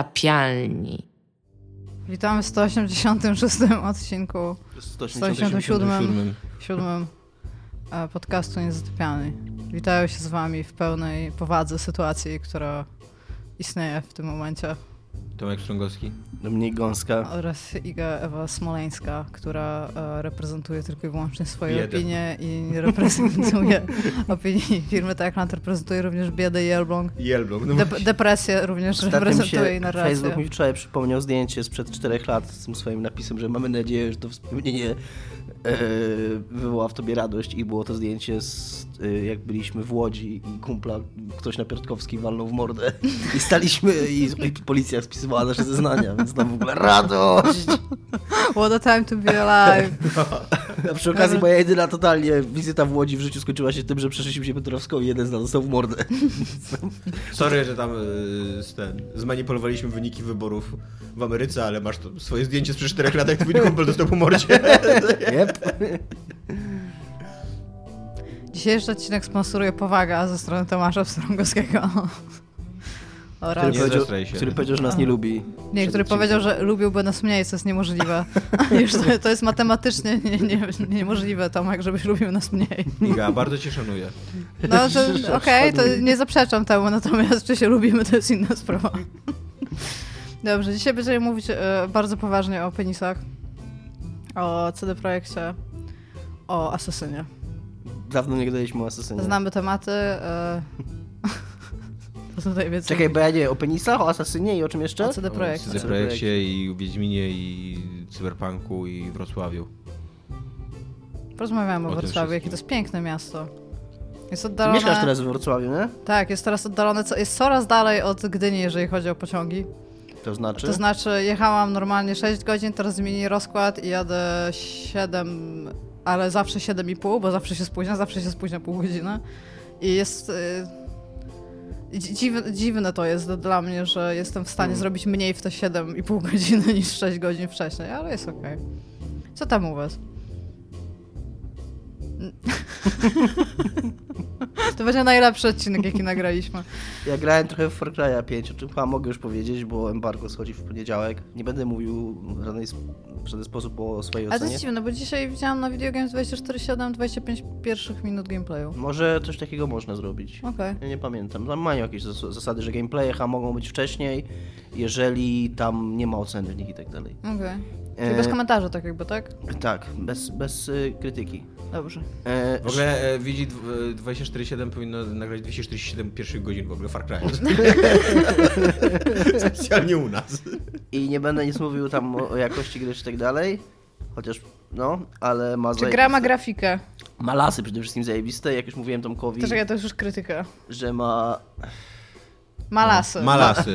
niezatapialni. Witamy w 186 odcinku 187. siódmym e, podcastu Niezatopiany. Witają się z wami w pełnej powadze sytuacji, która istnieje w tym momencie Tomek Strągowski. Dominik Gąska. oraz Iga Ewa Smoleńska, która e, reprezentuje tylko i wyłącznie swoje Biedę. opinie i nie reprezentuje opinii firmy Techland, reprezentuje również biedę i Elbląg. Jelblok. No Dep- depresję również Ostatnio mi reprezentuje się i narrację. Facebook mi wczoraj przypomniał zdjęcie sprzed 4 lat z tym swoim napisem, że mamy nadzieję, że to wspomnienie e, wywoła w tobie radość i było to zdjęcie z, e, jak byliśmy w Łodzi i kumpla ktoś na Piątkowskiej walnął w mordę i staliśmy i, i policja spisywała nasze zeznania, więc tam w ogóle radość! What a time to be alive. A przy okazji moja jedyna totalnie wizyta w Łodzi w życiu skończyła się tym, że przeszliśmy się Piotrowską i jeden z nas dostał w mordę. Sorry, że tam y, z ten, zmanipulowaliśmy wyniki wyborów w Ameryce, ale masz to swoje zdjęcie sprzed 4 lat, jak twój kumpel dostał po mordzie. Yep. Dzisiejszy odcinek sponsoruje powaga ze strony Tomasza Wstrągowskiego. Oraz. Który, Nie powiedział, zastraj się. który powiedział, że nas nie lubi. Nie, który Przed powiedział, że lubiłby nas mniej, co jest niemożliwe. Już to, to jest matematycznie nie, nie, niemożliwe, Tomek, żebyś lubił nas mniej. Iga, bardzo cię szanuję. No to okej, to nie zaprzeczam temu, natomiast czy się lubimy, to jest inna sprawa. Dobrze, dzisiaj będziemy mówić e, bardzo poważnie o penisach, o CD Projekcie, o Asesynie. Dawno nie gadaliśmy o Assassinie. Znamy tematy. e, To są najwięcej. Czekaj, bo ja nie, o penisach, o Assassinie i o czym jeszcze? o CD Projekt. W projekcie i Wiedźminie i Cyberpunku i Wrocławiu. Porozmawiamy o O tym Wrocławiu, jakie to jest wszystkim. piękne miasto. Jest Ty oddalone. mieszkasz teraz w Wrocławiu, nie? Tak, jest teraz oddalone, co, jest coraz dalej od Gdyni, jeżeli chodzi o pociągi. To znaczy? To znaczy, jechałam normalnie 6 godzin, teraz zmieni rozkład i jadę 7, ale zawsze 7,5, bo zawsze się spóźnia, zawsze się spóźnia pół godziny. I jest. y, dzi- Dziwne, dziwne to jest dla mnie, że jestem w stanie zrobić mniej w te 7,5 godziny niż 6 godzin wcześniej, ale jest okej. Co tam u was? N- to będzie najlepszy odcinek, jaki nagraliśmy. Ja grałem trochę w Far Cry'a 5, o czym chyba mogę już powiedzieć, bo embargo schodzi w poniedziałek. Nie będę mówił w żaden, w żaden sposób o swojej Ale to ocenie. jest dziwne, no bo dzisiaj widziałam na Video Games 24-7 25 pierwszych minut gameplayu. Może coś takiego można zrobić. Okej. Ja nie pamiętam. Tam mają jakieś zas- zasady, że gameplaye ha, mogą być wcześniej, jeżeli tam nie ma oceny w nich i tak dalej. Okej. E, Czyli bez komentarza tak jakby, tak? Tak, bez, bez y, krytyki. Dobrze. E, W ogóle e, widzi dw- e, 247 powinno nagrać 247 pierwszych godzin w ogóle Far Cry. Specjalnie u nas. I nie będę nic mówił tam o o jakości gry czy tak dalej. Chociaż, no, ale ma Czy zaje- gra ma grafikę? Ma lasy przede wszystkim zajebiste, jak już mówiłem Tomkowi, To czekaj, to jest już krytyka. że ma... Ma lasy. Ma lasy.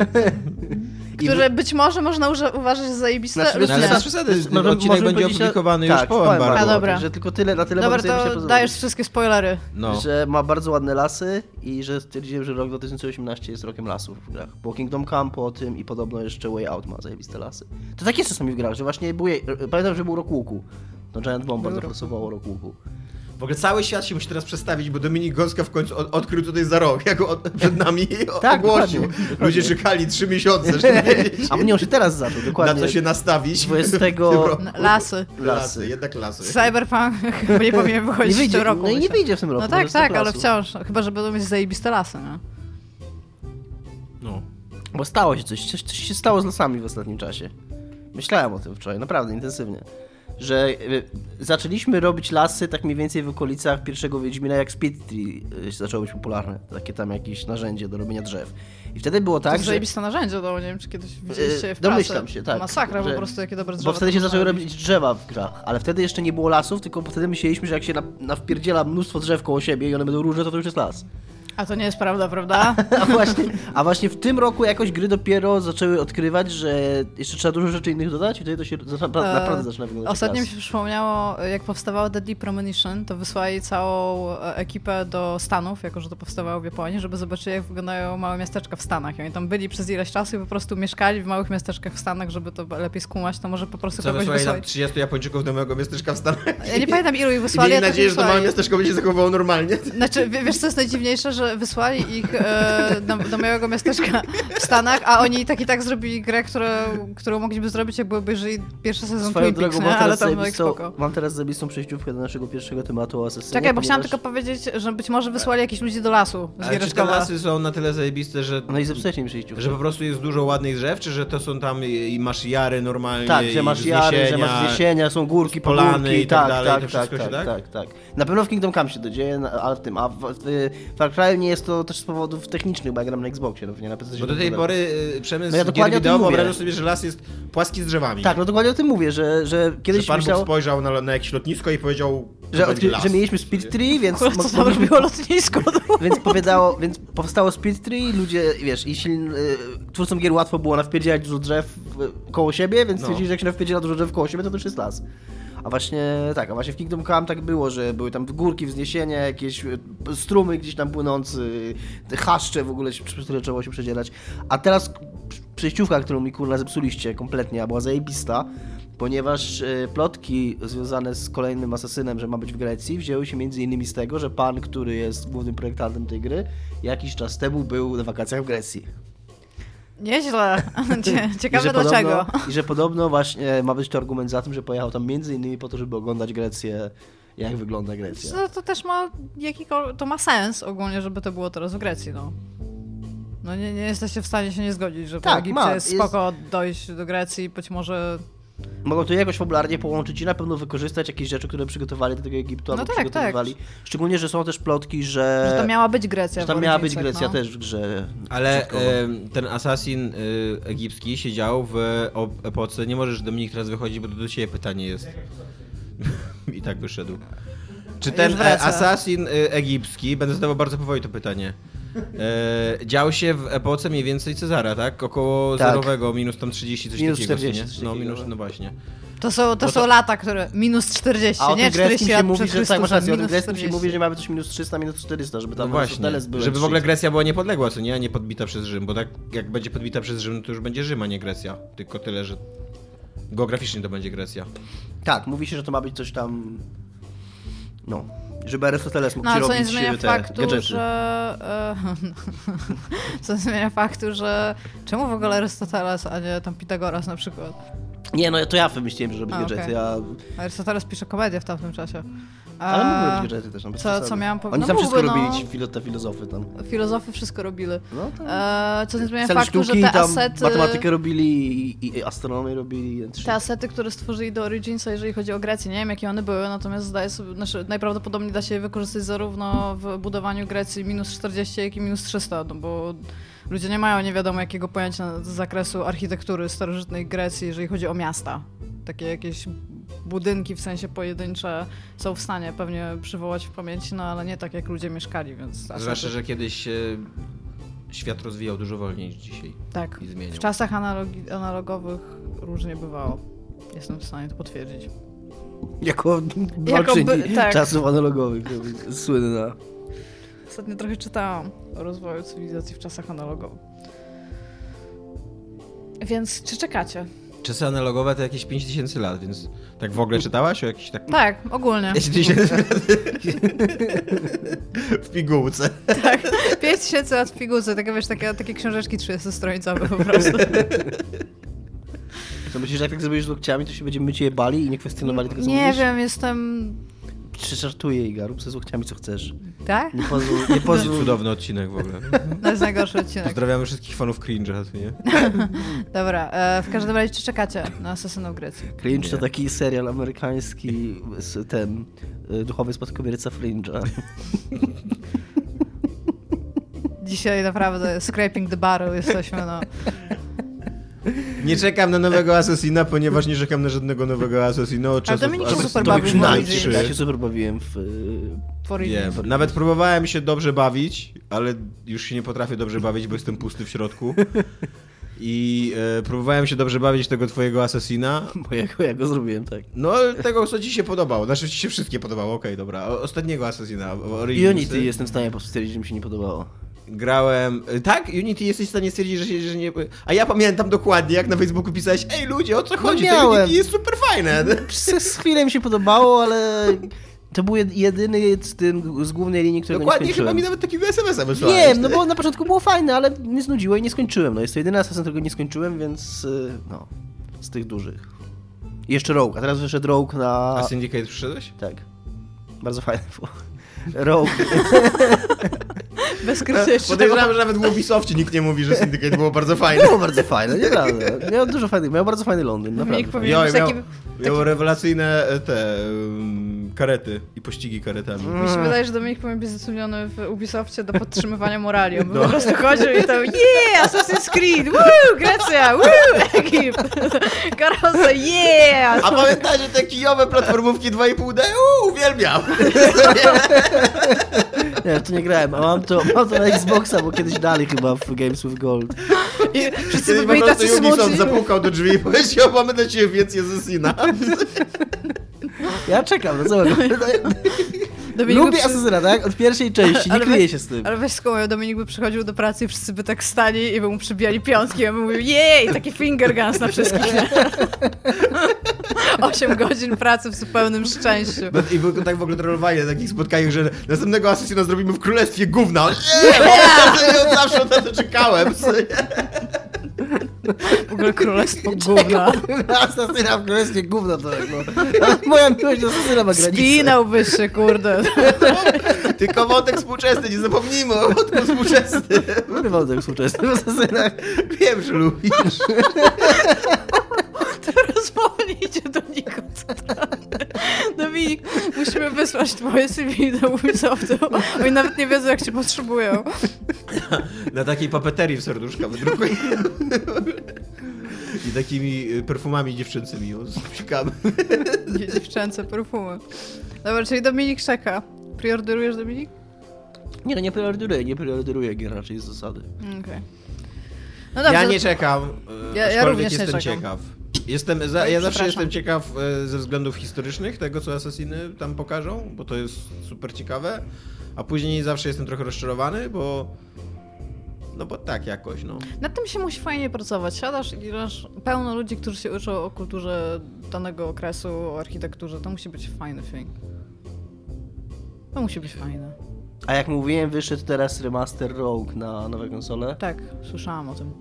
Które być może można uża- uważać za zajebiste. Znaczy, lub No, ale nie. bez przesady, Możemy- odcinek możemy będzie powiedzieć, że- opublikowany tak, już po embargo. A, dobra. Także tylko tyle, na tyle Dobra, mogę sobie to pozwolić. dajesz wszystkie spoilery. No. Że ma bardzo ładne lasy i że stwierdziłem, że rok 2018 jest rokiem lasów w grach. Po Kingdom Come, po tym i podobno jeszcze Way Out ma zajebiste lasy. To tak jest czasami w grach, że właśnie buje... Pamiętam, że był rok łuku. To Giant Bomb bardzo pasowało rok łuku. W ogóle cały świat się musi teraz przestawić, bo Dominik Gąska w końcu od, odkrył tutaj za rok, jak go od, przed nami o- Tak, ogłosił. dokładnie, dokładnie. Ludzie czekali trzy miesiące, żeby wiedzieć, A mnie on się teraz zaczął, dokładnie. na co się nastawić. 20 w tym roku. N- Lasy. Lasy, jednak lasy. Cyberpunk chyba nie powinien Nie wychodzić w wyjdzie, tym roku. no i nie myślę. wyjdzie w tym roku. No po tak, prostu tak, do ale lasu. wciąż. Chyba, że będą mieć zajebiste lasy, no. No. Bo stało się coś, coś, coś się stało z lasami w ostatnim czasie. Myślałem o tym wczoraj, naprawdę intensywnie. Że y, zaczęliśmy robić lasy tak mniej więcej w okolicach pierwszego Wiedźmina, jak Speed Tree y, zaczęło być popularne. Takie tam jakieś narzędzie do robienia drzew. I wtedy było To tak, jest że... zajebiste narzędzie, no nie wiem, czy kiedyś widzieliście je w pracy. Y, domyślam się, tak, Masakra po że- prostu, jakie dobre drzewa. Bo wtedy to się można zaczęły robić drzewa w grach, ale wtedy jeszcze nie było lasów, tylko wtedy myśleliśmy, że jak się na, nawpierdziela mnóstwo drzew koło siebie i one będą różne, to to już jest las. A to nie jest prawda, prawda? A właśnie, a właśnie w tym roku jakoś gry dopiero zaczęły odkrywać, że jeszcze trzeba dużo rzeczy innych dodać i wtedy to się za- napra- E, No, naprawdę zaczyna wyglądać jak Ostatnio mi las. się przypomniało, jak powstawało Deadly Premonition, to wysłali całą e, ekipę do Stanów, jako że to powstawało w Japonii, żeby zobaczyli, jak wyglądają małe miasteczka w Stanach. I oni tam byli przez ileś czasu i po prostu mieszkali w małych miasteczkach w Stanach, żeby to lepiej skumać, to może po prostu Co kogoś wysłali nam wysłali. 30 Japończyków do małego miasteczka w Stanach. Ja nie pamiętam, ilu ich I wysłali, mieli ale tak nadzieję, że to wysłali. małe miasteczko będzie się zachowywało normalnie. Znaczy, wie- wiesz co jest najdziwniejsze, że że wysłali ich e, do, do mojego miasteczka w Stanach, a oni tak i tak zrobili grę, które, którą mogliby zrobić, jak byłoby, jeżeli pierwszy sezon Swoją Twin drogą, Peaks, mam nie? ale teraz, tam jak zajebistą, spoko. mam teraz zajebistą przejściówkę do naszego pierwszego tematu o asesynie. Czekaj, bo chciałam ponieważ- tylko powiedzieć, że być może wysłali jakichś ludzi do lasu z Ale czy te Giereszkowa. lasy są na tyle zajebiste, że, No i zepsujecie mi przejściówkę. że po prostu jest dużo ładnych drzew, czy że to są tam i, i masz jary normalnie, Tak, i że masz jary, że masz wzniesienia, są górki, polany polany i tak tak, dalej, tak, to tak, wszystko się tak, da? tak, tak. Na pewno w Kingdom Come się to dzieje, no, ale w tym, a w, w Far Cry nie jest to też z powodów technicznych, bo ja gram na Xboxie, no nie na PC. się Bo to do tej podoba. pory y, przemysł No ja gier dokładnie o tym wideo mówię. wyobrażał sobie, że las jest płaski z drzewami. Tak, no dokładnie o tym mówię, że, że Że kiedyś Pan Bóg myślał, spojrzał na, na jakieś lotnisko i powiedział, że, to będzie odkry, las. że mieliśmy Speed Tree, więc, Kurwa, co mo- tam mogliśmy, robiło lotnisko? więc, powiadało, więc powstało Speed Tree, ludzie, wiesz, i silni, y, twórcom gier łatwo było nawpierdzielać dużo drzew y, koło siebie, więc No. stwierdzili, że jak się nawpierdziela dużo drzew koło siebie, to to już jest las. A właśnie tak, a właśnie w Kingdom Come tak było, że były tam górki, wzniesienia, jakieś y, strumy gdzieś tam płynące, y, te chaszcze w ogóle, się- przez które trzeba było się przedzierać. A teraz k- przejściówka, którą mi kurna zepsuliście kompletnie, a była zajebista, ponieważ y, plotki związane z kolejnym asesynem, że ma być w Grecji, wzięły się między innymi z tego, że pan, który jest głównym projektantem tej gry, jakiś czas temu był na wakacjach w Grecji. Nieźle. Cie- I Ciekawe że podobno- dlaczego. I że podobno właśnie ma być to argument za tym, że pojechał tam między innymi po to, żeby oglądać Grecję, jak wygląda Grecja. No, to też ma jakikol... to ma sens ogólnie, żeby to było teraz w Grecji, no. No nie, nie jesteście w stanie się nie zgodzić, że Tak, po Egipcie ma, jest jest- spoko dojść do Grecji, być może... Mogą to jakoś fabularnie połączyć i na pewno wykorzystać jakieś rzeczy, które przygotowali do tego Egiptu, No albo tak, przygotowywali. Szczególnie, że są też plotki, że, Że to miała być Grecja. E, że tam w miała być Origins, tak, Grecja no. też w grze. Ale e, początkowo. em, ten asasin y, egipski siedział w o- epoce. Nie możesz Dominik teraz wychodzić, bo to do ciebie pytanie jest. I tak wyszedł. Czy Już ten e, wraca. asasin y, egipski, będę zadawał bardzo powoli to pytanie, e, dział się w epoce mniej więcej Cezara, tak? Około Tak. zerowego, minus tam 30, coś Minus takiego. 40, nie? coś No, takiego. minus, no właśnie. To są, to No to- są lata, które... Minus 40, A o nie? tym greckim 40 się lat mówi, przed że tak, masz Chrystusem, rację, o tym minus greckim się 40. mówi, że mamy coś minus 300, minus 400, żeby No tam właśnie, Aristoteles był żeby w ogóle 30. Grecja była niepodległa, co nie? A nie podbita przez Rzym, bo tak jak będzie podbita przez Rzym, no to już będzie Rzym, a nie Grecja. Tylko tyle, że geograficznie to będzie Grecja. Tak, mówi się, że to ma być coś tam... No, żeby Arystoteles mógł No, ci co robić nie zmienia e, te faktu, gadżety. że... E, co nie zmienia faktu, że... Czemu w ogóle Arystoteles, a nie tam Pitagoras na przykład? Nie, no to ja wymyśliłem, że robić A, gadżety, okej. ja... Arystoteles pisze komedię w tamtym czasie. ale A- mógłby robić gadżety też. No, bez co- przesady. co miałam powie- Oni no tam wszystko mógłby, no. robili, ci filo, te filozofy tam. Filozofy wszystko robili. No to... Eee, co nie zmienia Cele faktu, że sztuki, te tam asety, matematykę robili i, i, i astronomię robili. i- te asety, które stworzyli do Originsa, jeżeli chodzi o Grecję, nie wiem jakie one były, natomiast zdaję sobie, znaczy, najprawdopodobniej da się je wykorzystać zarówno w budowaniu Grecji minus 40, jak i minus 300, no bo ludzie nie mają nie wiadomo jakiego pojęcia z zakresu architektury starożytnej Grecji, jeżeli chodzi o miasta. Takie jakieś budynki w sensie pojedyncze są w stanie pewnie przywołać w pamięci, no ale nie tak jak ludzie mieszkali, więc... asety- Zwłaszcza, że kiedyś e, świat rozwijał dużo wolniej niż dzisiaj. Tak. i zmienią. W czasach analogi- analogowych różnie bywało. Jestem w stanie to potwierdzić. Jako by- walczyni tak. czasów analogowych. to Słynna. Ostatnio trochę czytałam o rozwoju cywilizacji w czasach analogowych. Więc czy czekacie? Czasy analogowe to jakieś 5000 lat, więc tak w ogóle czytałaś o jakichś tak... Tak, ogólnie. 5000 lat w pigułce. 5000 lat w pigułce, takie wiesz, takie, takie książeczki 30-stronicowe po prostu. To myślisz, że jak tak zrobisz z łokciami, to się będziemy cię bali i nie kwestionowali tego, co Nie mówisz? wiem, jestem... Czy żartuję, Iga, rób sobie z łokciami, co chcesz. Tak? Nie pozwól, nie pozwól. Cudowny odcinek w ogóle. To jest najgorszy odcinek. Pozdrawiamy wszystkich fanów cringe'a, co nie? Dobra, e, w każdym razie czy czekacie na Asesynów Grecji? Cringe to Nie. taki serial amerykański, z ten, y, duchowy spadkobierca Fringe'a. Dzisiaj naprawdę scraping the barrel jesteśmy, no. Nie czekam na nowego Assassina, ponieważ nie czekam na żadnego nowego Assassina od czasów Dominik się Assassin's super Creed bawił w Ja 3. Origins. się super bawiłem w... y, For Nie, reasons. nawet próbowałem się dobrze bawić, ale już się nie potrafię dobrze bawić, bo jestem pusty w środku. I e, próbowałem się dobrze bawić tego twojego Assassina, Bo ja go, ja go zrobiłem, tak. No, tego, co ci się podobało. Znaczy, ci się wszystkie podobało, okej, dobra. O- Ostatniego Assassina, o- Originsy. Unity jestem w stanie po prostu stwierdzić, że mi się nie podobało. Grałem... Tak? Unity jesteś w stanie stwierdzić, że się że nie... A ja pamiętam dokładnie, jak na Facebooku pisałeś Ej, ludzie, o co chodzi? To No miałem. Mhm. Unity jest super fajne. Przez chwilę mi się podobało, ale To był jed- jedyny z, tym, z głównej linii, którego Dokładnie, nie chyba skończyłem. mi nawet takiego SMS-a wysłałeś. Wiem, no bo na początku było fajne, ale mnie znudziło i nie skończyłem. No jest to jedyny Assassin, którego nie skończyłem, więc y, no, z tych dużych. I jeszcze Rogue, a teraz wyszedł Rogue na... A Syndicate przyszedłeś? Tak. Bardzo fajne było. Rogue. Bez krycia jeszcze. Podejrzewam, że nawet w Ubisoftie nikt nie mówi, że Syndicate było bardzo fajne. Było bardzo fajne, no, nieprawda. Miał dużo fajnych, miał bardzo fajny Londyn, Dominik naprawdę. powie- Powinien Jo, być miał, taki- miał rewelacyjne e, te ym, karety i pościgi karetami. Mi się wydaje, że Dominik powinien być zatrudniony w Ubisoftie do podtrzymywania morali. On by po prostu chodził i tam yeah, Assassin's Creed, woo, Grecja, woo, Egipt, Karosa, yeah! A pamiętacie te kijowe platformówki 2,5D? Uuu, uwielbiam! Nie, tu nie grałem, a mam to, mam to na Xboxa, bo kiedyś dali chyba w Games with Gold. I wszyscy by po byli prostu tacy Ubisoft smutni. zapukał do drzwi i powiedział, mamy dla ciebie więcej Assassina. Ja czekam, no zobacz. Dominiku Lubię przy- Asasyna, tak? Od pierwszej części, nie Ale kryję weź- się z tym. Ale weź skołę, Dominik by przychodził do pracy i wszyscy by tak stali i by mu przybijali piątki, a by mówił jej, taki finger guns na wszystkich. nie? Osiem godzin pracy w zupełnym szczęściu. I było tak w ogóle trollowanie na takich spotkaniach, że następnego Assassina zrobimy w Królestwie Gówna. Nie! Zawsze na to czekałem. W ogóle królestwo gówna. Asasyna w królestwie gówno to tak, no. Moja miłość do Asasyna ma granicę. Spinałby się, kurde. Tylko wątek współczesny, nie zapomnijmy o wątku współczesnym. Lubię wątek współczesny w Asasynach. Wiem, że lubisz. Rozpomnijcie do nikąd. Dominik, musimy wysłać twoje CV do Ubisoftu. Oni nawet nie wiedzą, jak cię potrzebują. Na takiej papeterii w serduszka wydrukuję. I takimi y, perfumami dziewczyncymi ją spsikamy. No Takie Dziewczęce perfumy. Dobra, czyli Dominik czeka. Priorderujesz Dominik? Nie no, nie priorytetuję, nie priorytetuję gier raczej z zasady. Mm, Okej. No dobrze. Ja nie czekam. Ja- ja Ja, ja również nie jestem czekam. ciekaw. Jestem za, Oj, ja zawsze przepraszam. jestem ciekaw e, ze względów historycznych tego, co Assassiny tam pokażą, bo to jest super ciekawe. A później zawsze jestem trochę rozczarowany, bo. No bo tak jakoś, no. Nad tym się musi fajnie pracować. Siadasz i masz pełno ludzi, którzy się uczą o kulturze danego okresu, o architekturze. To musi być fajny thing. To musi być fajne. A jak mówiłem, wyszedł teraz remaster Rogue na nowe konsole. Tak, słyszałam o tym.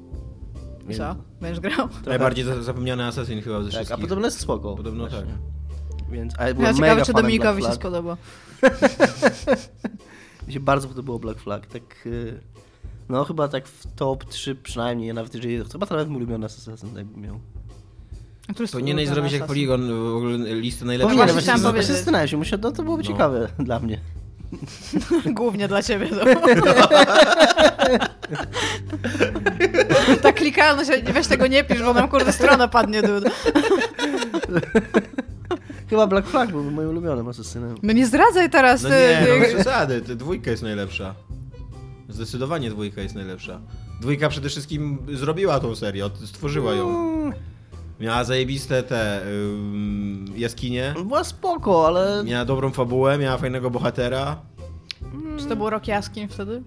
I Nie. co? Będziesz grał? Najbardziej za- zapomniany Assassin chyba ze Tak, wszystkich. a podobno jest spoko. Podobno tak. Właśnie. Więc, a ja byłem Ja mega ciekawe, czy fanem Dominikowi Black się Flag. spodoba. Mi się bardzo podobało Black Flag, tak... y, No chyba tak w top 3 przynajmniej, nawet jeżeli... Chyba to nawet mój ulubiony Assassin jakby tak miał. Który jest Powinieneś ulubiony zrobić jak Assassin? Polygon w ogóle listę No Powinienem, najlepszych. właśnie właśnie chciałam właśnie powiedzieć. zastanawiam się, musiał, no to byłoby No. ciekawe dla mnie. Głównie dla ciebie. No. Ta klikalność, weź tego nie pisz, bo nam kurde strona padnie. Dude. Chyba Black Flag byłby moim ulubionym asesynem. No nie zdradzaj teraz. No ty- nie, no bez ty- przesady, ty, dwójka jest najlepsza. Zdecydowanie dwójka jest najlepsza. Dwójka przede wszystkim zrobiła tą serię, od- stworzyła ją. Mm, Miała zajebiste te ym, jaskinie, Była spoko, ale... miała dobrą fabułę, miała fajnego bohatera. Czy to był rok jaskiń wtedy?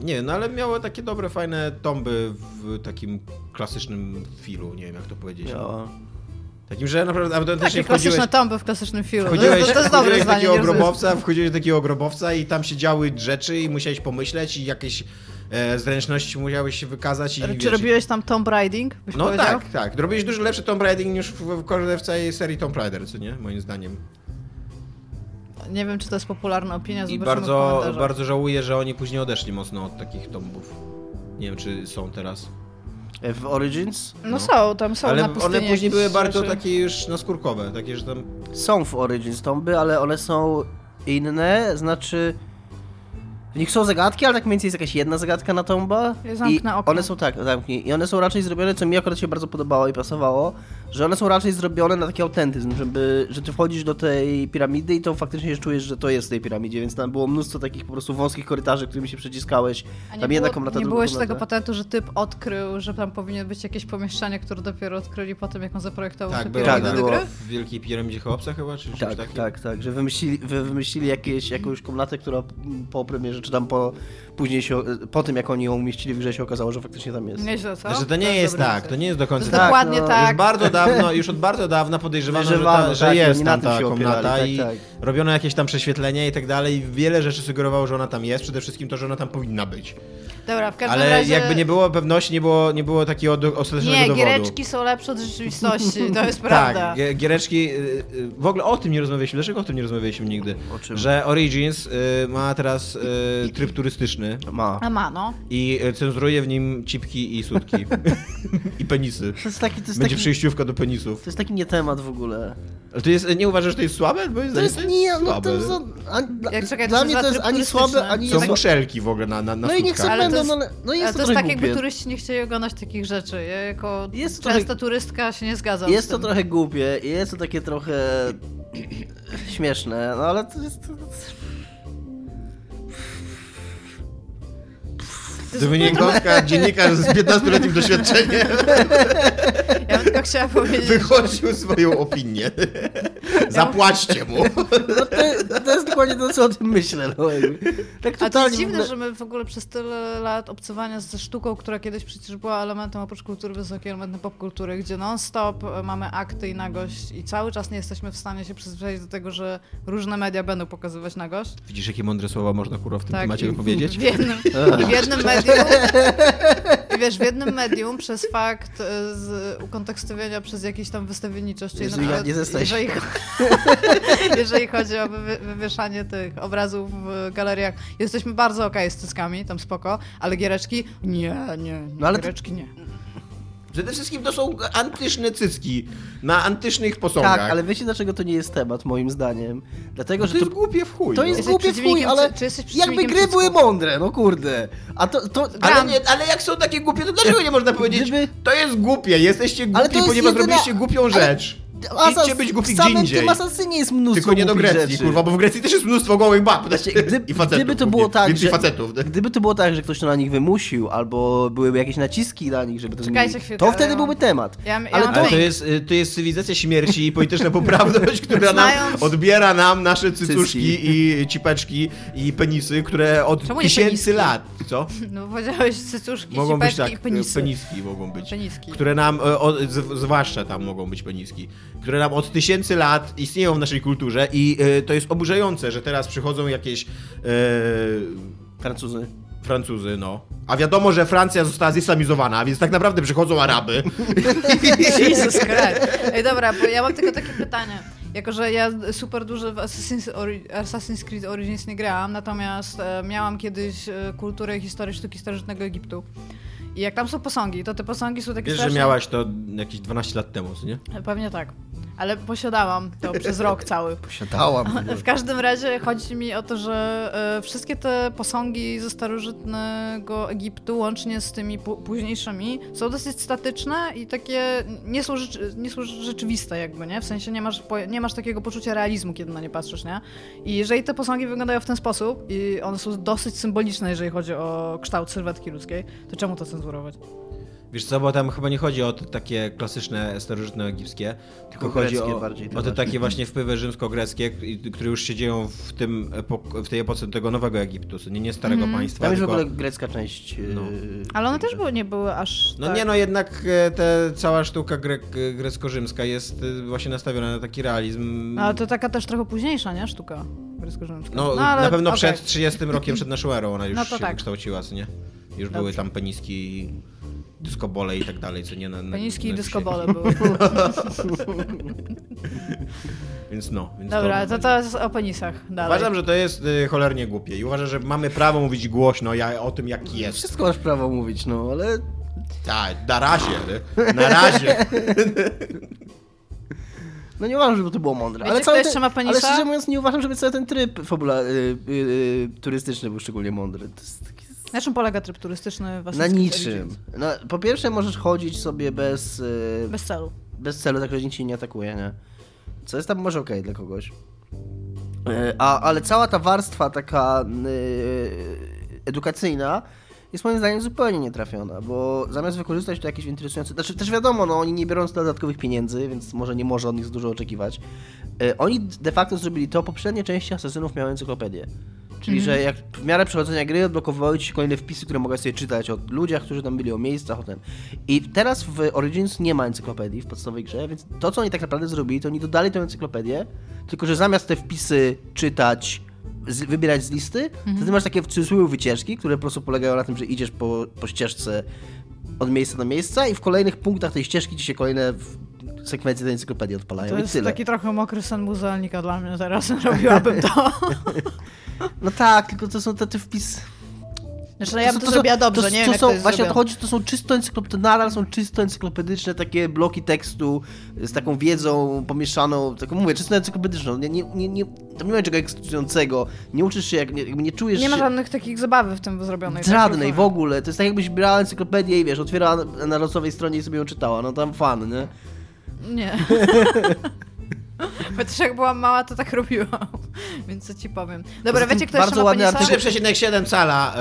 Nie, no ale miała takie dobre, fajne tomby w takim klasycznym filu, nie wiem jak to powiedzieć. Miała. Takim, że naprawdę autentycznie Takie wchodziłeś... klasyczne tomby w klasycznym filmie. No, To, Wchodziłeś, jest- to jest dobre wchodziłeś zdanie. takiego nie rozumiem. grobowca, wchodziłeś takiego grobowca i tam się działy rzeczy i musiałeś pomyśleć i jakieś e, zręczności musiałeś się wykazać i Czy wiesz, robiłeś tam Tomb Riding? Byś No powiedział? tak, tak. Robiłeś dużo lepszy Tomb Raider niż w, w każdej w całej serii Tomb Raider, co nie? Moim zdaniem. Nie wiem, czy to jest popularna opinia. I Zobaczymy w bardzo, komentarzach. bardzo żałuję, że oni później odeszli mocno od takich tombów. Nie wiem, czy są teraz. E, W Origins? No, no. są, tam są na Ale pustyni one później jakieś były bardzo rzeczy. takie już naskórkowe, takie, że tam... Są w Origins tomby, ale one są inne, znaczy... W nich są zagadki, ale tak mniej więcej jest jakaś jedna zagadka na tomba. Ja I zamknę okno. one są tak, zamknij. I one są raczej zrobione, co mi akurat się bardzo podobało i pasowało, że one są raczej zrobione na taki autentyzm, żeby, że ty wchodzisz do tej piramidy i to faktycznie czujesz, że to jest w tej piramidzie, więc tam było mnóstwo takich po prostu wąskich korytarzy, którymi się przeciskałeś. A nie Tam jedna było- komnata, Nie druga było jeszcze komnata. tego patentu, że typ odkrył, że tam powinien być jakieś pomieszczenie, które dopiero odkryli po tym, jak on zaprojektował Tak, tę było, piramidę tak, do było. gry? w Wielkiej Piramidzie Cheopsa chyba, czy czymś Tak, takim? tak, tak, że wymyślili, wy- wymyślili jakieś, jakąś komnatę, która po premierze rzeczy tam po, później się, po tym jak oni ją umieścili w grze się okazało, że faktycznie tam jest. Nieźle, co? Znaczy to nie jest dobry tak, wniosek. to nie jest do To końca jest tak. dokładnie no, Już tak. bardzo dawno, już od bardzo dawna podejrzewano, że, ta, Podejrzewano, że tak, jest oni na tam tym ta się komnata opierali, i tak, robiono jakieś tam prześwietlenia i tak dalej. Wiele rzeczy sugerowało, że ona tam jest. Przede wszystkim to, że ona tam powinna być. Dobra, w każdym Ale razie... jakby nie było pewności, nie było, nie było takiego do- ostatecznego Nie, dowodu. giereczki są lepsze od rzeczywistości, to jest prawda. Tak, gie- giereczki. y, y, W ogóle o tym nie rozmawialiśmy. Dlaczego o tym nie rozmawialiśmy nigdy? O czym? Że Origins y, ma teraz y, tryb turystyczny Ma. A ma, no. i y, cenzuruje w nim cipki i sutki. I penisy. To jest taki, to jest Będzie taki, przejściówka do penisów. to jest taki nie temat w ogóle. Ale to jest, nie uważasz, że to jest słabe? Bo To jest nie, no słabe. to jest, a, dla, Jak czekaj, dla to mnie jest to jest atryb ani słabe, turystyczny. ani Są jest... muszelki w ogóle na, na, na No i niech sutkach. sobie Ale to będą, jest- no ale no Ale to jest to jest trochę tak, jakby głupie. turyści nie chcieli oglądać takich rzeczy. Ja jako Jest to często trochę- turystka się nie zgadzam z Jest to tym. trochę głupie, jest to takie trochę śmieszne, no ale to jest... to- Gdyby nie kąska dziennikarz z 15-letnim doświadczeniem Ja bym tylko chciała powiedzieć, wychodził swoją opinię. Zapłaćcie mu. No to, to jest dokładnie to, co o tym myślę. No, jakby. tak a to jest totalnie w dziwne, ogóle- że my w ogóle przez tyle lat obcowania ze sztuką, która kiedyś przecież była elementem oprócz kultury wysokiej, elementem popkultury, gdzie non-stop e, mamy akty i nagość i cały czas nie jesteśmy w stanie się przyzwyczaić do tego, że różne media będą pokazywać nagość. Widzisz, jakie mądre słowa można kurwa w tym Tak. temacie I- wypowiedzieć? W jednym, i w jednym medium. I wiesz, w jednym medium przez fakt e, z ukontekstowienia przez jakiś tam wystawienniczość, czyli Jezu, ja nie jesteś. jeżeli, jeżeli chodzi o wywy- wywieszanie tych obrazów w galeriach, jesteśmy bardzo okej z cyckami, tam spoko, ale giereczki? Nie, nie, No ale to- giereczki nie. Przede wszystkim to są antyszne cycki na antysznych posągach. No Tak, ale wiecie dlaczego to nie jest temat, moim zdaniem? Dlatego, To że to, jest głupie w chuj. to no. jest Jesteś głupie w chuj, przeciwnikiem ale cy- czy jesteś jakby przeciwnikiem gry cycków? były mądre, no kurde. A to... to Ale, Gram. nie, ale jak są takie głupie, to dlaczego nie można powiedzieć, Gdyby- to jest głupie, jesteście to głupi, jest ponieważ jedyna- zrobiliście głupią ale- rzecz. Asas- Idźcie być głupi w gdzie samym indziej. tym Asasynie jest mnóstwo Tylko nie do głupich Grecji, rzeczy. kurwa, bo w Grecji też jest mnóstwo gołych bab. Właśnie, gdy, I facetów. gdyby to głównie. było tak, Więcej że, facetów. gdyby to było tak, że ktoś to na nich wymusił, albo byłyby jakieś naciski na nich, żeby to Czekajcie zmienili, chwilkę, to ale ja wtedy mam- byłby temat. Ja, ja Ale mam to Ale to fake. jest, y, to jest cywilizacja śmierci i polityczna poprawność, która nam Znając- odbiera nam nasze cycuszki Cycki. i cipeczki i penisy, które od Czemu nie tysięcy peniski? lat, co? No powiedziałeś cycuszki, Mogą być sipeczki tak, i y, penisy. peniski mogą być. Peniski. Które nam, e, o, z- zwłaszcza tam mogą być peniski, które nam od tysięcy lat istnieją w naszej kulturze i e, to jest oburzające, że teraz przychodzą jakieś e, Francuzy. Francuzy, no. A wiadomo, że Francja została zislamizowana, więc tak naprawdę przychodzą Araby. Jesus Christ. Ej, dobra, bo ja mam tylko takie pytanie. Jako, że ja super dużo w Assassin's, Ori- Assassin's Creed Origins nie grałam, natomiast e, miałam kiedyś e, kulturę i historię sztuki starożytnego Egiptu. I jak tam są posągi, to te posągi są takie Wiesz, że strasznie... miałaś to jakieś 12 lat temu, co nie? Pewnie tak. Ale posiadałam to przez rok cały. Posiadałam. W każdym razie chodzi mi o to, że e, wszystkie te posągi ze starożytnego Egiptu, łącznie z tymi pu- późniejszymi, są dosyć statyczne i takie nie są, rzeczy, nie są rzeczywiste jakby, nie? W sensie nie masz, poje- nie masz takiego poczucia realizmu, kiedy na nie patrzysz, nie? I jeżeli te posągi wyglądają w ten sposób i one są dosyć symboliczne, jeżeli chodzi o kształt sylwetki ludzkiej, to czemu to cenzurować? Wiesz co, bo tam chyba nie chodzi o te takie klasyczne, starożytne egipskie, tylko Tylko chodzi greckie o, bardziej, to o te tak. znaczy. takie właśnie wpływy rzymsko-greckie, k- i- które już się dzieją w, tym epok- w tej epoce tego nowego Egiptu, co nie, nie starego Mhm. państwa, Tam jest w tylko... ogóle grecka część. No. yy, Ale one też były, nie były aż No tak... nie, no jednak e, te, cała sztuka grek, e, grecko-rzymska jest e, właśnie nastawiona na taki realizm... Ale to taka też trochę późniejsza, nie? Sztuka grecko-rzymska. No, ale na pewno okej. przed 30 rokiem, przed naszą erą ona już No to się tak. wykształciła, co nie? Już Dobrze. były tam peniski i dyskobole i tak dalej, co nie? Na, na, Peniski i na dyskobole dzisiaj. No, były. Więc no. Więc Dobra, to będzie. teraz o penisach dalej. Uważam, że to jest y, cholernie głupie i uważam, że mamy prawo mówić głośno ja, o tym, jaki jest. Wszystko masz prawo mówić, no ale Tak, na razie. y, Na razie. no nie uważam, żeby to było mądre. Wiecie, ale kto cały jeszcze ten, ma penisa? Ale szczerze mówiąc nie uważam, żeby cały ten tryb fabula, yy, yy, turystyczny był szczególnie mądry. To jest taki Na czym polega tryb turystyczny w na Assassin's Creed niczym. Origins? No, po pierwsze możesz chodzić sobie bez, yy, bez... Bez celu. celu, tak że nikt ci nie atakuje, nie? Co jest tam może okej dla kogoś. Yy, a, ale cała ta warstwa taka yy, edukacyjna jest moim zdaniem zupełnie nietrafiona, bo zamiast wykorzystać to jakieś interesujące... Znaczy też wiadomo, no oni nie biorą z dodatkowych pieniędzy, więc może nie można od e, nich dużo oczekiwać. Yy, oni de facto zrobili to, poprzednie części asesynów miały encyklopedię. Czyli, że jak w miarę przechodzenia gry odblokowywały ci się kolejne wpisy, które mogłeś sobie czytać od ludziach, którzy tam byli, o miejscach, o tym. I teraz w Origins nie ma encyklopedii w podstawowej grze, więc to, co oni tak naprawdę zrobili, to oni dodali tę encyklopedię, tylko że zamiast te wpisy czytać, z, wybierać z listy, to Mhm. ty masz takie w cudzysłowie wycieczki, które po prostu polegają na tym, że idziesz po, po ścieżce od miejsca do miejsca i w kolejnych punktach tej ścieżki ci się kolejne w- sekwencje tej encyklopedii odpalają To No i jest tyle. taki trochę mokry sen muzealnika dla mnie teraz, robiłabym to. No tak, tylko to są te, te wpisy... Znaczy, no ja bym są- to, są- zrobiła dobrze, nie wiem to jak są, to jest Właśnie o to zrobione. chodzi, to są czysto encyklopedyczne, nadal są czysto encyklopedyczne takie bloki tekstu z taką wiedzą pomieszaną, taką mówię, czysto encyklopedyczną, nie, nie, nie, nie, tam nie ma niczego ekscytującego, nie uczysz się, jak, nie, jakby nie czujesz Nie ma się żadnych takich zabawy w tym zrobionej. tak żadnej rozumiem. w ogóle, to jest tak jakbyś brała encyklopedię i wiesz, otwierała na- na losowej stronie i sobie ją czytała, no tam fan, nie? Nie. Bo też jak byłam mała, to tak robiłam. Więc co ci powiem. Dobra, Poza tym wiecie, kto jeszcze bardzo ma ładny penisa? artykuł- 3,7 cala y,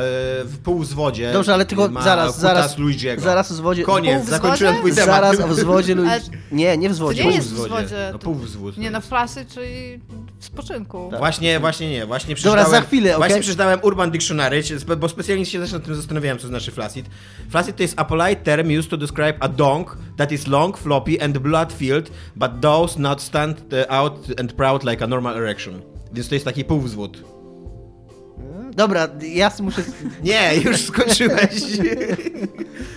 w półzwodzie. Dobrze, ale tylko ma zaraz, kutas zaraz, Luigiego. zaraz w zwodzie, Koniec, Pół zakończyłem wzwodzie? twój temat. zaraz w zwodzie, Lu- Ale- nie, nie w zwodzie, nie Pół jest w wzwodzie. zwodzie, No, to- pół wzwód. Nie, no frasy, czyli w spoczynku. Właśnie, właśnie nie, właśnie przeczytałem... Tak. za chwilę, okej? Właśnie przeczytałem Urban Dictionary, czy- spe- bo specjalnie się też nad tym zastanawiałem, co znaczy flaccid. Flaccid to jest a polite term used to describe a donk that is long, floppy and blood-filled, but does not stand uh, out and proud like a normal erection. Więc to jest taki półwzwód. dobra, ja muszę, Nie, już skończyłeś.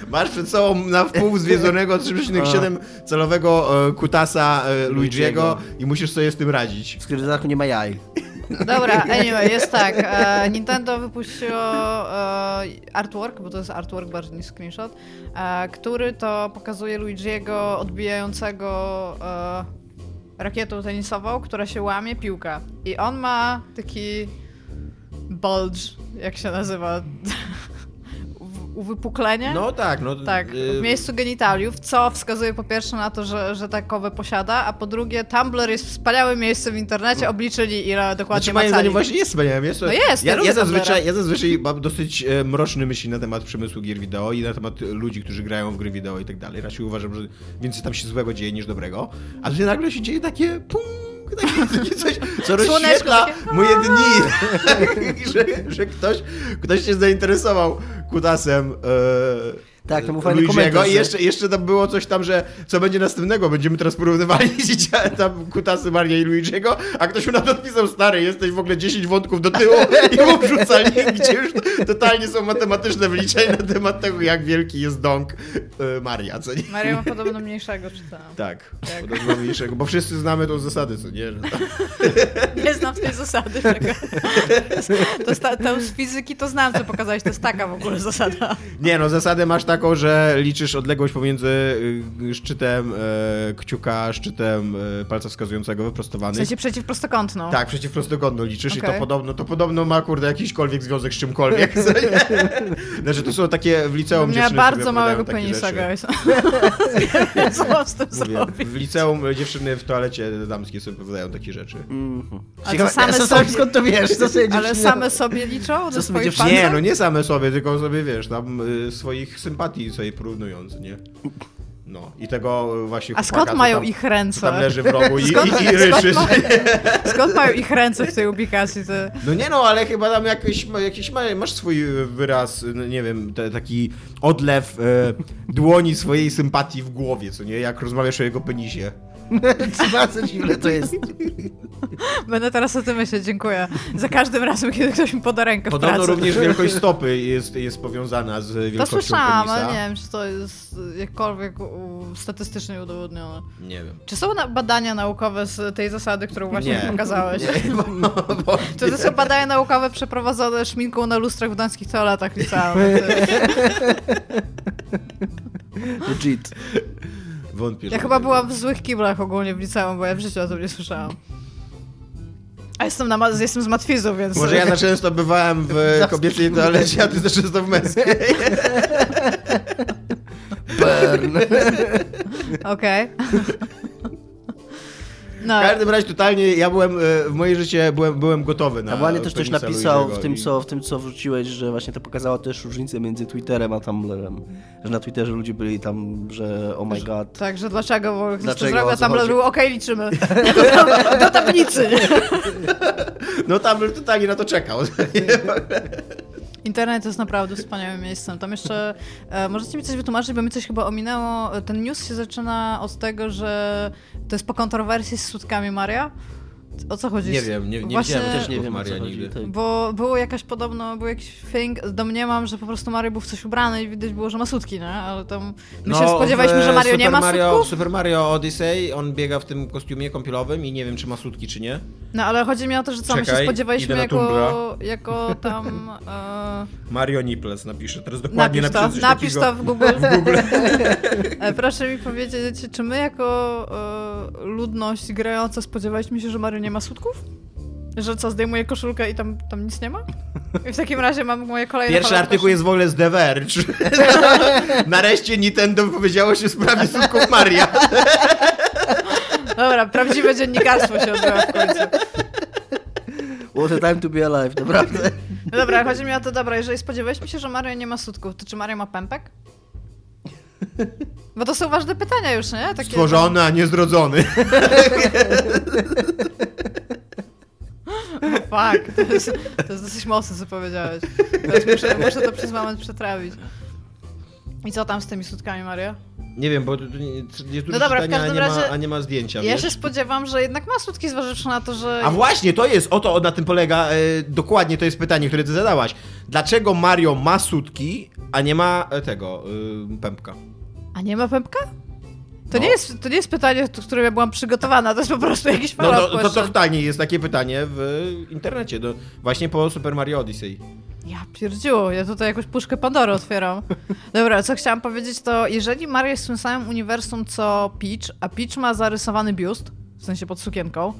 Masz przed sobą na wpół zwiedzonego 3,7 calowego e, kutasa e, Luigiego i musisz sobie z tym radzić. w skryptach nie ma jaj. Dobra, anyway, jest tak. E, Nintendo wypuściło e, artwork, bo to jest artwork bardziej niż screenshot, e, który to pokazuje Luigiego odbijającego e, rakietą tenisową, która się łamie, piłka. I on ma taki bulge, jak się nazywa, w- uwypuklenie. No tak, no Tak, w e, miejscu genitaliów, co wskazuje po pierwsze na to, że, że takowe posiada, a po drugie Tumblr jest wspaniałym miejscem w internecie, obliczyli ile dokładnie No. Znaczy, ma moim cali. zdaniem właśnie jest wspaniałe miejsce. No jest, ja ja, lubię ja, Tumblra. zazwyczaj, ja zazwyczaj mam dosyć e, mroczne myśli na temat przemysłu gier wideo i na temat e, ludzi, którzy grają w gry wideo i tak dalej. Raczej uważam, że więcej tam się złego dzieje niż dobrego. A tu się nagle się dzieje takie pum, takie, takie coś, co Słoneczko rozświetla takie, moje dni. że, że ktoś, ktoś się zainteresował kutasem e, Tak, to mu fajny Luigiego komentarz, I nie? jeszcze, jeszcze tam było coś tam, że co będzie następnego? Będziemy teraz porównywali dziecię, tam kutasy Maria i Luigiego, a ktoś mu na to odpisał, stary, jesteś w ogóle 10 wątków do tyłu i mu wrzucali, gdzie już totalnie są matematyczne wliczenia na temat tego, jak wielki jest dąg e, Maria, co nie? Mario ma podobno mniejszego czytałam. Tak, Tak. podobno mniejszego, bo wszyscy znamy tą zasadę, co nie? Że tam- Tak. Nie znam tej zasady tego. To, sta- to z fizyki to znam, co pokazałeś, to jest taka w ogóle zasada. Nie no, zasadę masz taką, że liczysz odległość pomiędzy y, szczytem e, kciuka, a szczytem e, palca wskazującego W wyprostowanych. sensie przeciwprostokątną. No Tak, przeciw prostokątną liczysz i to Okej. podobno, to podobno ma kurde jakiśkolwiek związek z czymkolwiek. co nie? znaczy to są takie w liceum Miała dziewczyny bardzo sobie małego opowiadają takie penisa, rzeczy. guys. Co z tym Mówię, zrobić? w liceum dziewczyny w toalecie damskiej sobie opowiadają takie rzeczy. A to Mhm. same sobie- skąd to wiesz? Co sobie Ale dziewczyna- same sobie liczą sobie do swoich dziewczyny- pancerz? Nie, no nie same sobie, tylko sobie wiesz, tam y, swoich sympatii sobie porównując, nie? No i tego y, właśnie A chłopaka, skąd co mają tam, ich co tam ręce? leży w rogu i, Skąd- i, i skąd ryszy. mają- Skąd mają ich ręce w tej ubikacji? Ty? No nie no, ale chyba tam jakiś, ma- jakiś ma- masz swój e, wyraz, e, no nie wiem, te, taki odlew e, dłoni swojej sympatii w głowie, co nie? Jak rozmawiasz o jego penisie. Zobaczysz, ile to jest. Będę teraz o tym myśleć, dziękuję. Za każdym razem, kiedy ktoś mi poda rękę w Podobno pracy. również wielkość stopy jest, jest powiązana z To wielkością słyszałam, penisa. ale nie wiem, czy to jest jakkolwiek u- statystycznie udowodnione. Nie wiem. Czy są na badania naukowe z tej zasady, którą właśnie Nie. pokazałeś? Nie, bo, bo, Czy to są badania naukowe przeprowadzone szminką na lustrach w danskich toaletach liceum? Legit. wątpię. Ja że- chyba byłam w złych kiblach ogólnie w liceum, bo ja w życiu o tym nie słyszałam. A jestem, na, ma- jestem z matwizu, więc... Może ja za często bywałem w e, kobiecej toalecie, a ty za często w męskiej. Burn. Okej. No, W każdym razie totalnie ja byłem, e, w moje życie byłem, byłem gotowy na A Błanie No, też coś penisa napisał w Luigiego tym, i- co, w tym, co wrzuciłeś, że właśnie to pokazało też różnicę między Twitterem a Tumblrem. Że na Twitterze ludzie byli tam, że oh my god. także dlaczego? Bo ktoś to Dlaczego? O zrobił, a co tam chodzi? był okej, liczymy. Do, do tablicy. No tam totalnie na to czekał. Internet jest naprawdę wspaniałym miejscem. Tam jeszcze e, możecie mi coś wytłumaczyć, bo mi coś chyba ominęło. E, Ten news się zaczyna od tego, że to jest po kontrowersji z sutkami Maria. O co chodzi? Nie wiem, nie, nie Właśnie- widziałem też Nie nie wiem, o co Maria chodzi, nigdy. tak. Bo było jakaś podobno, był jakiś thing, domniemam, że po prostu Mario był w coś ubrany i widać było, że ma sutki, nie? Ale tam my się spodziewaliśmy, No, w, że Mario Super nie ma Mario, w sutków. Super Mario Odyssey on biega w tym kostiumie kąpielowym i nie wiem, czy ma sutki, czy nie. No ale chodzi mi o to, że co, my się Czekaj, spodziewaliśmy idę na jako, Tumbra. jako tam... E, Mario Niples napisze, teraz dokładnie napisz to, napiszę coś napisz to takiego. w Google. E, Proszę mi powiedzieć, czy my jako e, ludność grająca spodziewaliśmy się, że Mario nie ma sutków? Że co, zdejmuje koszulkę i tam, tam nic nie ma? I w takim razie mam moje kolejne... Pierwszy halo, artykuł proszę. jest w ogóle z The Verge. Nareszcie Nintendo wypowiedziało się w sprawie sutków Maria. Dobra, prawdziwe dziennikarstwo się odbyło w końcu. What a time to be alive, naprawdę. No dobra, chodzi mi o to, dobra, jeżeli spodziewaliśmy się, że Mario nie ma sutków, to czy Mario ma pępek? Bo to są ważne pytania już, nie? Takie, Stworzony, a nie zrodzony. No, fuck, to jest, to jest dosyć mocne, co powiedziałeś. Teraz muszę, muszę to przez moment przetrawić. I co tam z tymi sutkami, Mario? Nie wiem, bo tu, tu nie- jest dużo No dobra, w czytania, a każdym nie, ma, razie- a nie ma zdjęcia, Ja wiesz? się spodziewam, że jednak ma sutki, zważywszy na to, że... A właśnie, to jest, oto na tym polega, e, dokładnie to jest pytanie, które ty zadałaś. Dlaczego Mario ma sutki, a nie ma e, tego, y, pępka? A nie ma pępka? To, No. nie jest, to nie jest pytanie, do którego ja byłam przygotowana, to jest po prostu jakiś No follow-up to, to, to question. totalnie jest takie pytanie w internecie, do, właśnie po Super Mario Odyssey. Ja pierdziło, ja tutaj jakąś puszkę Pandory otwieram. Dobra, co chciałam powiedzieć, to jeżeli Mario jest w tym samym uniwersum co Peach, a Peach ma zarysowany biust, w sensie pod sukienką,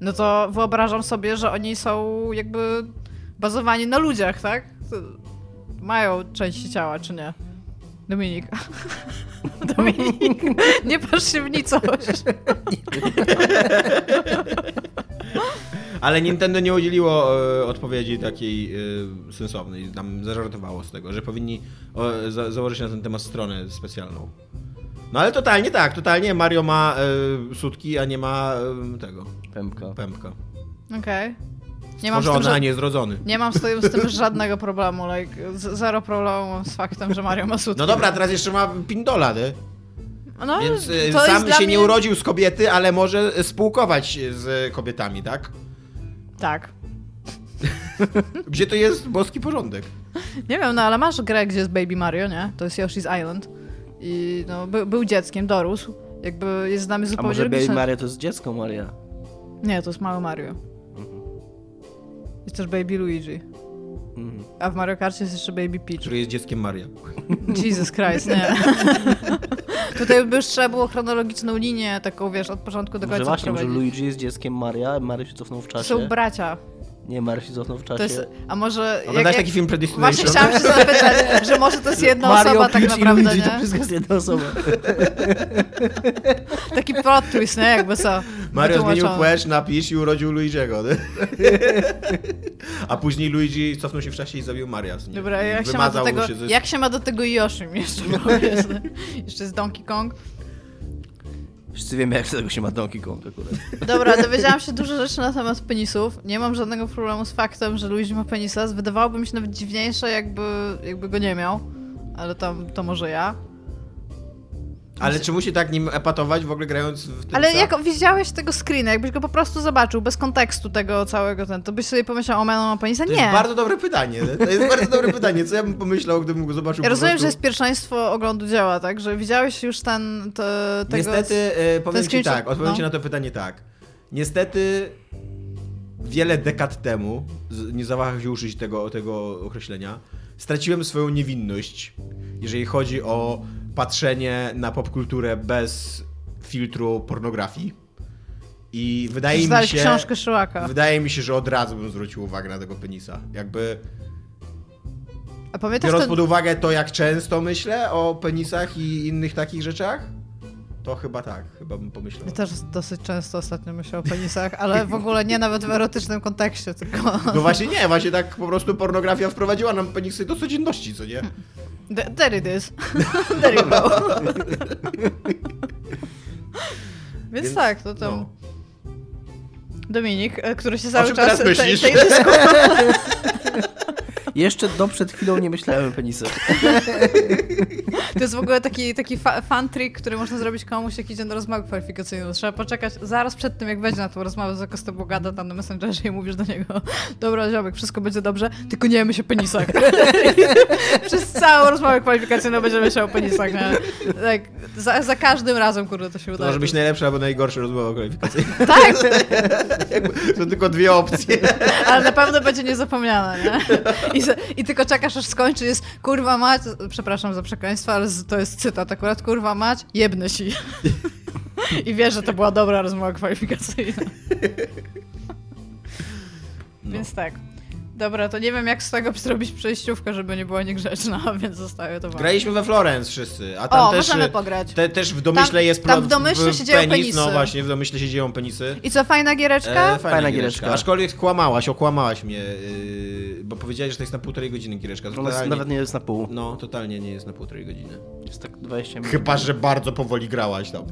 no to wyobrażam sobie, że oni są jakby bazowani na ludziach, tak? To Mają części ciała, czy nie? Dominik. Dominik, nie patrz się w nicość. Ale Nintendo nie udzieliło e, odpowiedzi takiej e, sensownej, tam zażartowało z tego, że powinni e, za, założyć na ten temat stronę specjalną. No ale totalnie tak, totalnie Mario ma e, sutki, a nie ma e, tego, Pępka. pępka. Okej. Nie mam z tym, Stworzony, a że... nie zrodzony. Nie mam z tym, z tym żadnego problemu, like, z- zero problemu mam z faktem, że Mario ma sutki. No dobra, teraz jeszcze ma pindola, nie? No, Więc e, to jest sam dla się mnie- nie urodził z kobiety, ale może spółkować z kobietami, tak? Tak. Gdzie to jest boski porządek? Nie wiem, no ale masz grę, gdzie jest Baby Mario, nie? To jest Yoshi's Island. I no, by, był dzieckiem, dorósł. Jakby jest z nami A zupełnie może Baby logiczne- Maria to jest dziecko Maria? Nie, to jest mały Mario. Jest też Baby Luigi. Mhm. A w Mario Karcie jest jeszcze Baby Peach. Który jest dzieckiem Maria. Jesus Christ, nie. Tutaj by już trzeba było chronologiczną linię taką, wiesz, od początku do Może końca właśnie, może wprowadzić. Luigi jest dzieckiem Maria, a Mario się cofnął w To czasie. są bracia. Nie, Mario się cofnął w czasie. To jest, a może... Oglądasz taki film Predestination? Właśnie chciałam się zapytać, że może to jest jedna Mario, osoba tak Peach i naprawdę, Luigi, nie? to wszystko jest jedna osoba. Taki plot twist, nie? Jakby co? Mario zmienił Wytłumaczone. płeć, napisz i urodził Luigiego, nie? A później Luigi cofnął się w czasie i zabił Maria. z nim. Dobra, jak się, ma do Wymazał tego, mu ze- jak się ma do tego Yoshim jeszcze? bo jest- jeszcze z Donkey Kong. Wszyscy wiemy, jak do tego się ma Donkey Kong akurat. Dobra, dowiedziałam się dużo rzeczy na temat penisów. Nie mam żadnego problemu z faktem, że Luigi ma penisa. Wydawałoby mi się nawet dziwniejsze, jakby, jakby go nie miał. Ale tam to może ja. Ale czy musi tak nim epatować w ogóle grając w ten Ale sam- jak widziałeś tego screena, jakbyś go po prostu zobaczył, bez kontekstu tego całego ten, to byś sobie pomyślał, o man, on ma penisa? To Nie. jest bardzo dobre pytanie. nie? To jest bardzo dobre pytanie. Co ja bym pomyślał, gdybym go zobaczył Ja po rozumiem, prostu? że jest pierwszeństwo oglądu dzieła, tak? Że widziałeś już ten... Te, tego... Niestety, e, powiem ci screenshot- tak, odpowiem no. ci na to pytanie tak. Niestety, wiele dekad temu, z- nie zawaham się użyć tego, tego określenia, straciłem swoją niewinność, jeżeli chodzi o patrzenie na popkulturę bez filtru pornografii. I wydaje mi Przeczytałeś się... książkę Szyłaka. Wydaje mi się, że od razu bym zwrócił uwagę na tego penisa. Jakby, A pamiętasz biorąc ten... pod uwagę to, jak często myślę o penisach i innych takich rzeczach, to chyba tak, chyba bym pomyślał. Ja też dosyć często ostatnio myślę o penisach, ale w ogóle nie nawet w erotycznym kontekście, tylko... No właśnie nie, właśnie tak po prostu pornografia wprowadziła nam penisy do codzienności, co nie? Th- There it is. There you go. Więc, tak, to tam... no. Dominik, e, który się O cały czym czas teraz tej, tej myślisz? dysku... Jeszcze do przed chwilą nie myślałem o penisach. To jest w ogóle taki, taki fa- fun trick, który można zrobić komuś, jak idzie na rozmowę kwalifikacyjną. Trzeba poczekać zaraz przed tym, jak wejdzie na tą rozmowę, z jakoś z tobą gada tam na Messengerze i mówisz do niego dobra, ziomek, wszystko będzie dobrze, tylko nie jemy się penisach. Przez całą rozmowę kwalifikacyjną będziemy się o penisach. Nie? Tak, za, za każdym razem, kurde, to się To udaje. może być najlepsza albo najgorsza rozmowa kwalifikacyjna. Tak, Są tylko dwie opcje. Ale na pewno będzie niezapomniana, nie? I, se- I tylko czekasz, aż skończy, jest kurwa mać, przepraszam za przekleństwo, ale z- to jest cytat akurat, kurwa mać, jebnę si. I wiesz, że to była dobra rozmowa kwalifikacyjna. No. Więc tak. Dobra, to nie wiem, jak z tego zrobić przejściówkę, żeby nie była niegrzeczna, więc zostawię to wam. Graliśmy we Florence wszyscy, a tam O, też... e, y, możemy pograć. Te, też w domyśle Tam- jest tam plot- w domyśle się dzieją penisy. No właśnie, w domyśle się dzieją penisy. I co, fajna giereczka? E, Fajna giereczka. Aczkolwiek kłamałaś, okłamałaś mnie, yy, bo powiedziałeś, że to jest na półtorej godziny giereczka. Ona jest, Totalnie- nawet nie jest na pół. No, totalnie nie jest na półtorej godziny. Jest tak 20 minut. Chyba, że bardzo powoli grałaś tam.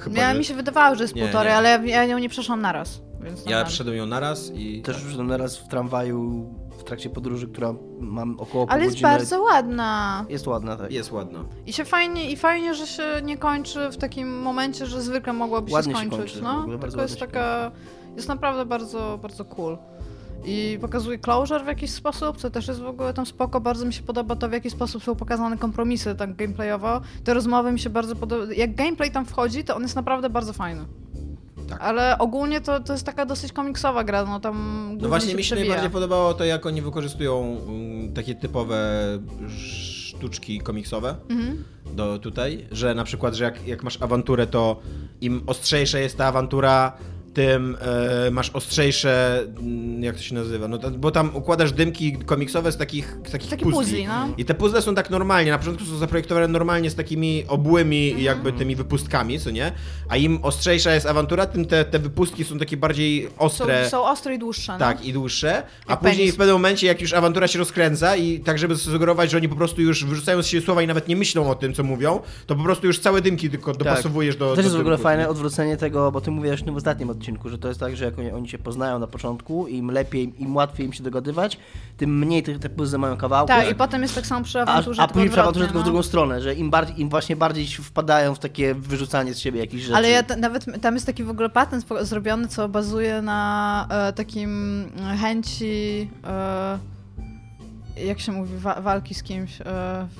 Chyba, ja, że... mi się wydawało, że jest Nie, półtorej, nie. ale ja, ja nią nie przeszłam naraz. Więc Ja normalnie. przyszedłem ją naraz i... Też już naraz w tramwaju w trakcie podróży, która mam około pół ale jest godziny. bardzo ładna. Jest ładna, tak. Jest No ładna. I się fajnie, i fajnie, że się nie kończy w takim momencie, że zwykle mogłaby Ładnie się się skończyć. kończy, w no, ogóle bardzo tylko jest ładnie się taka. Jest naprawdę bardzo, bardzo cool. I pokazuje closure w jakiś sposób, co też jest w ogóle tam spoko. Bardzo mi się podoba to, w jaki sposób są pokazane kompromisy tak gameplayowo. Te rozmowy mi się bardzo podobają. Jak gameplay tam wchodzi, to on jest naprawdę bardzo fajny. Tak. Ale ogólnie to, to jest taka dosyć komiksowa gra, no tam No głównie właśnie się mi się przewija. najbardziej podobało to, jak oni wykorzystują mm, takie typowe sztuczki komiksowe Mhm. do tutaj, że na przykład, że jak, jak masz awanturę, to im ostrzejsza jest ta awantura, tym e, masz ostrzejsze, mm, jak to się nazywa, no, to- bo tam układasz dymki komiksowe z takich, z takich Takie puzli. puzli, no. I te puzzle są tak normalnie, na początku są zaprojektowane normalnie z takimi obłymi Mhm. jakby tymi wypustkami, co nie? A im ostrzejsza jest awantura, tym te, te wypustki są takie bardziej Są, ostre. są ostre i dłuższe. No. Tak, i dłuższe, a Jak później penis. w pewnym momencie, jak już awantura się rozkręca i tak, żeby sugerować, że oni po prostu już wyrzucają z siebie słowa i nawet nie myślą o tym, co mówią, to po prostu już całe dymki tylko dopasowujesz do To Tak. też do jest w ogóle dymków. fajne odwrócenie tego, bo ty mówiłeś w tym ostatnim odcinku, że to jest tak, że jak oni, oni się poznają na początku, im lepiej, im łatwiej im się dogadywać, tym mniej tych te puzzle mają kawałków. Tak, i potem jest tak samo przy a, awanturze. a tylko później trzeba odwrotnie, patrzeć tylko w no. drugą stronę, że im, bardziej, im właśnie bardziej się wpadają w takie wyrzucanie z siebie jakichś rzeczy. Ale ja t- nawet m- tam jest taki w ogóle patent spo- zrobiony, co bazuje na e, takim mm, chęci. E, jak się mówi, wa- walki z kimś e,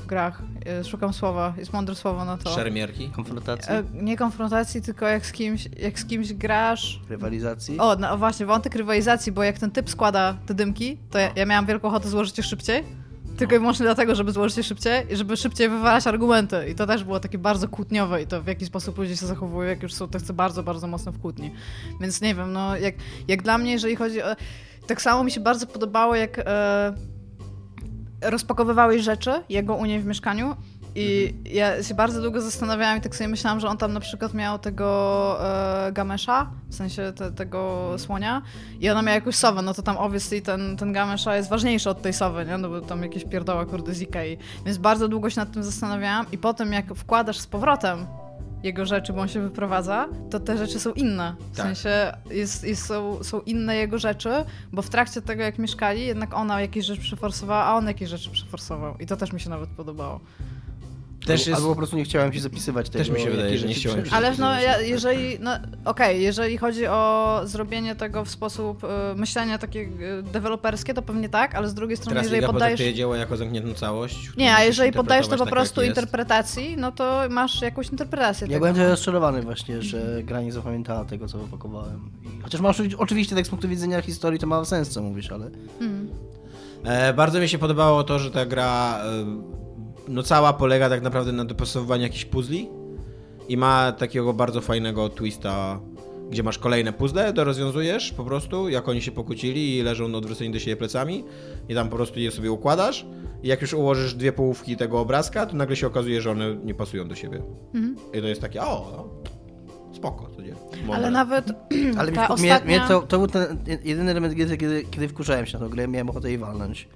w grach. E, szukam słowa, jest mądre słowo na to. Szermierki? Konfrontacji, E, nie konfrontacji, tylko jak z kimś, jak z kimś grasz. rywalizacji. O, no właśnie, wątek rywalizacji, bo jak ten typ składa te dymki, to ja, ja miałam wielką ochotę złożyć je szybciej. Tylko i wyłącznie dlatego, żeby złożyć je szybciej i żeby szybciej wywalać argumenty. I to też było takie bardzo kłótniowe i to w jaki sposób ludzie się zachowują, jak już są tacy bardzo, bardzo mocno w kłótni. Więc nie wiem, no jak, jak dla mnie, jeżeli chodzi o... Tak samo mi się bardzo podobało, jak e, rozpakowywałeś rzeczy, jego u niej w mieszkaniu i ja się bardzo długo zastanawiałam i tak sobie myślałam, że on tam na przykład miał tego e, gamesza, w sensie te, tego słonia i ona miała jakąś sowę, no to tam obviously ten, ten gamesza jest ważniejszy od tej sowy, nie? No bo tam jakieś pierdoła kurde z Ikei. Więc bardzo długo się nad tym zastanawiałam i potem jak wkładasz z powrotem jego rzeczy, bo on się wyprowadza, to te rzeczy są inne. W Tak. sensie jest, jest, są, są inne jego rzeczy, bo w trakcie tego, jak mieszkali, jednak ona jakieś rzeczy przeforsowała, a on jakieś rzeczy przeforsował. I to też mi się nawet podobało. Też albo, jest... albo po prostu nie chciałem ci zapisywać tego. Też mi się wydaje, jakie że tak. nie rzeczy chciałem. przeżyć. Ale no, ja, jeżeli, no, okej, jeżeli chodzi o zrobienie tego w sposób y, myślenia takie y, deweloperskie, to pewnie tak, ale z drugiej strony, Teraz jeżeli Iga poddajesz... potraktuje dzieło jako zamkniętą całość. którą Nie, a musisz jeżeli poddajesz to po interpretować prostu tak, jak jest. interpretacji, no to masz jakąś interpretację. Ja tego. byłem trochę Mm. rozczarowany właśnie, że gra nie zapamiętała tego, co wypakowałem. I chociaż ma oczywi- oczywiście tak z punktu widzenia historii to ma sens, co mówisz, ale Mm. E, bardzo mi się podobało to, że ta gra e, no cała polega tak naprawdę na dopasowywaniu jakichś puzli i ma takiego bardzo fajnego twista, gdzie masz kolejne puzzle, to rozwiązujesz po prostu, jak oni się pokłócili i leżą odwróceni do siebie plecami i tam po prostu je sobie układasz i jak już ułożysz dwie połówki tego obrazka, to nagle się okazuje, że one nie pasują do siebie. I to jest takie, o, no, spoko, to nie. Mhm. Ale mądre. nawet Ale ta mnie, ostatnia... mnie to, to był ten jedyny element gry, kiedy, kiedy wkurzałem się na tą grę, miałem ochotę jej walnąć.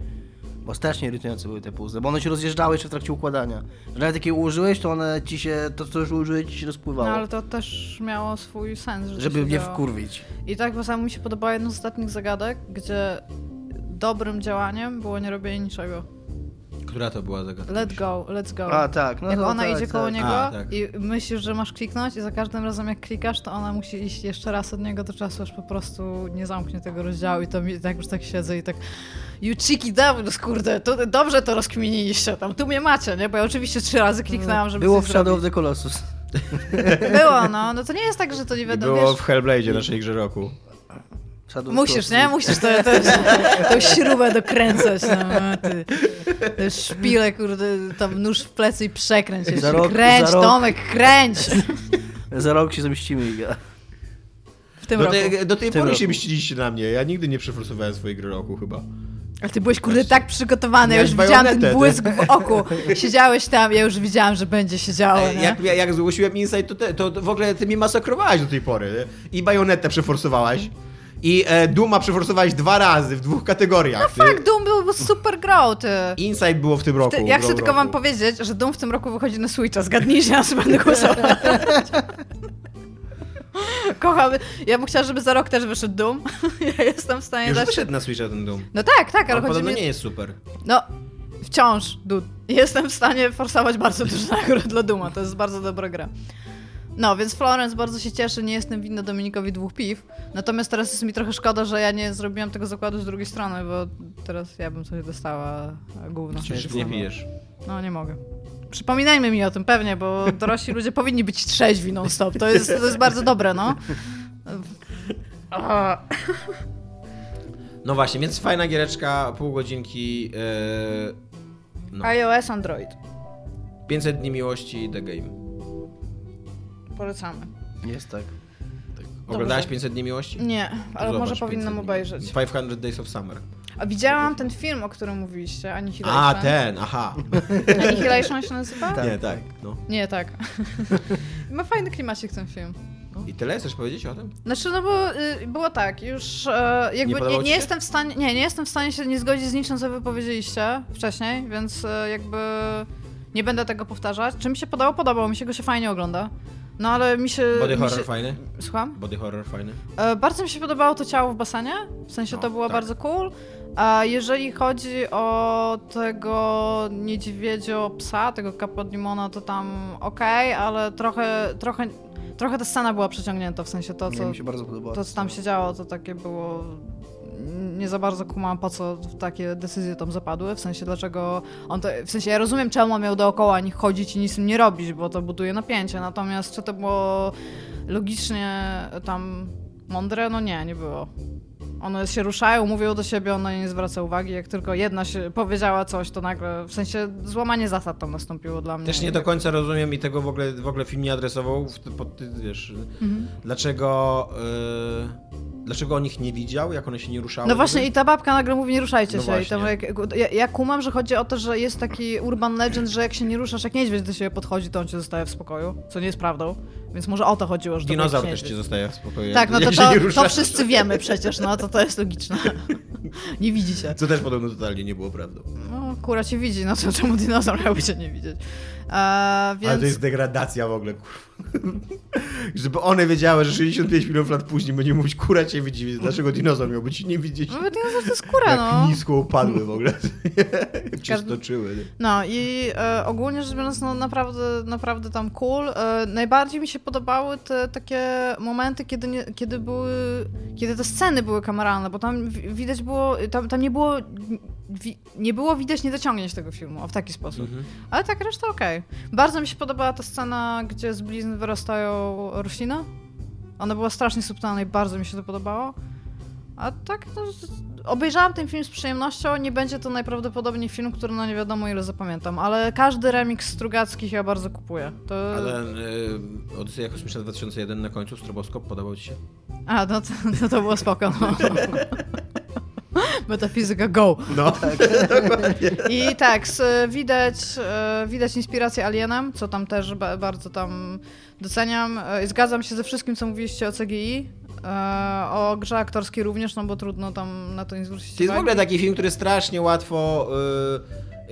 Bo strasznie irytujące były te puzzle, bo one się rozjeżdżały jeszcze w trakcie układania. Że nawet jak je ułożyłeś, to one ci się, to co już ułożyłeś, ci się No rozpływało. ale to też miało swój sens, że to żeby się mnie działo. wkurwić. I tak bo samo mi się podobało jedno z ostatnich zagadek, gdzie dobrym działaniem było nie robienie niczego. Która to była zagadka? Let go, let's go. A tak, no jak to ona tak, idzie tak. koło niego A, tak. i myślisz, że masz kliknąć i za każdym razem jak klikasz, to ona musi iść jeszcze raz od niego do czasu, aż po prostu nie zamknie tego rozdziału i to mi tak już tak siedzę i tak you cheeky devils, kurde, to, dobrze to rozkminiliście tam, tu mnie macie, nie? Bo ja oczywiście trzy razy kliknęłam, żeby Mm. Było coś w Shadow zrobić. of the Colossus. Było, no, no to nie jest tak, że to nie I wiadomo, było wiesz, w Hellblade, naszej grze roku. Shadow of the Musisz, Colossus. nie? Musisz to, to, tą śrubę dokręcać. No, ty, te szpile, kurde, tam nóż w plecy i przekręć. Za jeszcze. rok- kręć, za rok. Tomek, kręć! Za rok się zemścimy, Iga. W tym do, roku. tej, No do tej W tym pory roku. się mściliście na mnie. Ja nigdy nie przeforsowałem swojej gry roku chyba. Ale ty byłeś, kurde, tak przygotowany. Ja już Miałeś widziałam ten bajonetę, ty. błysk w oku. Siedziałeś tam, ja już wiedziałam, że będzie się działo, nie? E, Jak, jak zgłosiłem Insight, to, te, to w ogóle ty mnie masakrowałaś do tej pory. I Bajonetę przeforsowałaś. I e, Duma przeforsowałeś dwa razy w dwóch kategoriach. ty. Fuck, Doom Tak, był był super grą, ty. Insight było w tym roku. Ty, ja grą chcę tylko wam roku. powiedzieć, że Doom w tym roku wychodzi na Switcha. Zgadnijcie, aż będę głosował. Kocham. Ja bym chciała, żeby za rok też wyszedł Doom. Ja jestem w stanie Już dać... wyszedł na Switcha ten Doom. No tak, tak, ale Ale chodzi podobno mi... nie jest super. No, wciąż, dude. Jestem w stanie forsować bardzo dużo nagród dla Duma. To jest bardzo dobra gra. No, więc Florence bardzo się cieszy, nie jestem winna Dominikowi dwóch piw. Natomiast teraz jest mi trochę szkoda, że ja nie zrobiłam tego zakładu z drugiej strony, bo teraz ja bym coś dostała a gówno. Przecież Więc nie no. pijesz. No, nie mogę. Przypominajmy mi o tym pewnie, bo dorośli ludzie powinni być trzeźwi non-stop. To jest, to jest bardzo dobre, no. A, No właśnie, więc fajna giereczka, pół godzinki. e, No. iOS, Android. 500 dni miłości The Game. Polecamy. Jest tak. Oglądałaś 500 dni miłości? Nie, ale Zobacz, może 500 powinnam dni. obejrzeć. 500 Days of Summer. A widziałam ten film, o którym mówiliście, Annihilation. A, ten, aha. Annihilation się nazywa? Tak. Nie, tak. No. Nie, tak. Ma fajny klimacik ten film. I tyle? Chcesz powiedzieć o tym? Znaczy, no bo y, było tak, już e, jakby nie, nie, podobało ci się? jestem w stanie, nie, nie jestem w stanie się nie zgodzić z niczym, co wy powiedzieliście wcześniej, więc e, jakby nie będę tego powtarzać. Czy mi się podobało? Podobało mi się, go się fajnie ogląda. No ale mi się... Body mi horror się, fajny? Słucham? Body horror fajny? E, Bardzo mi się podobało to ciało w basenie, w sensie to No, było tak. bardzo cool. A jeżeli chodzi o tego niedźwiedzio psa, tego Capodimona, to tam okej, ale trochę, trochę, trochę ta scena była przeciągnięta, w sensie to, Nie, co, mi się bardzo podobało. to, co tam się działo, to takie było... mm, Nie za bardzo kumam, po co takie decyzje tam zapadły, w sensie dlaczego on to, w sensie ja rozumiem, czemu on miał dookoła nich chodzić i nic im nie robić, bo to buduje napięcie, natomiast czy to było logicznie tam mądre? No nie, nie było. One się ruszają, mówią do siebie, ona nie zwraca uwagi, jak tylko jedna się powiedziała coś, to nagle, w sensie złamanie zasad tam nastąpiło dla mnie. Też nie do końca rozumiem i tego w ogóle, w ogóle film nie adresował, w, pod, ty- wiesz, Mhm. dlaczego, y, dlaczego on ich nie widział, jak one się nie ruszały. No właśnie i ta babka nagle mówi nie ruszajcie No się. I tam jak, ja, ja kumam, że chodzi o to, że jest taki urban legend, że jak się nie ruszasz, jak niedźwiedź do siebie podchodzi, to on cię zostaje w spokoju, co nie jest prawdą. Więc może o to chodziło, że to był Dinozaur jakiś też ci zostaje w spokoju. Tak, no jak to, się nie to, to ruszasz. wszyscy wiemy przecież, no to to jest logiczne. nie widzi się. Co też podobno totalnie nie było prawdą. No, kura cię widzi, no to czemu dinozaur miałby cię nie widzieć? A, więc... Ale to jest degradacja w ogóle, kurwa. Żeby one wiedziały, że 65 milionów lat później będzie mówić, kura cię widzi, więc dlaczego dinozaur miałby ci nie widzieć? No bo dinozaur to jest kura, Jak no. nisko upadły w ogóle. Jak się Każdy- stoczyły. nie? No i e, ogólnie rzecz biorąc, no naprawdę, naprawdę tam cool. E, najbardziej mi się podobały te takie momenty, kiedy, nie, kiedy były, kiedy te sceny były kameralne, bo tam wi- widać było, tam, tam nie było, wi, nie było widać niedociągnięć tego filmu, o w taki sposób. Mhm. Ale tak, reszta okej. Bardzo mi się podobała ta scena, gdzie z blizn wyrastają rośliny. Ona była strasznie subtelna i bardzo mi się to podobało. A tak, no, z- obejrzałam ten film z przyjemnością. Nie będzie to najprawdopodobniej film, który no nie wiadomo ile zapamiętam, ale każdy remix Strugackich ja bardzo kupuję. To... Ale y, Odyseja Kosmiczna 2001 na końcu, stroboskop, podobał ci się? A, no to, no to było spoko. No. Metafizyka go. No, Tak. dokładnie. I tak, s- widać, e, widać inspirację Alienem, co tam też ba- bardzo tam doceniam. E, Zgadzam się ze wszystkim, co mówiliście o CGI. E, o grze aktorskiej również, no bo trudno tam na to nie zwrócić To jest w uwagi. ogóle taki film, który strasznie łatwo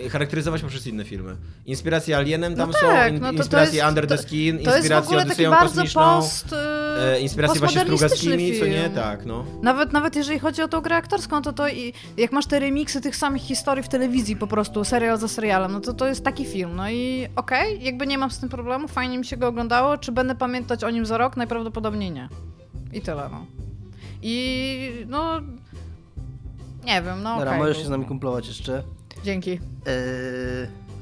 y, charakteryzować poprzez inne filmy. Inspiracje Alienem tam No są, tak, in, no to to inspiracje jest- Under the to- Skin, To jest w inspiracje ogóle taki Odyseją bardzo Kosmiczną, post... e, E, inspiracje właśnie postmodernistyczny Strugackimi, co nie? film. Tak, no. Nawet, nawet jeżeli chodzi o tą grę aktorską, to to i jak masz te remiksy tych samych historii w telewizji po prostu, serial za serialem, no to to jest taki film. No i okej, jakby nie mam z tym problemu, fajnie mi się go oglądało. Czy będę pamiętać o nim za rok? Najprawdopodobniej nie. I tyle, no. I no... Nie wiem, no okej. Dobra, możesz był. się z nami kumplować jeszcze. Dzięki. Eee,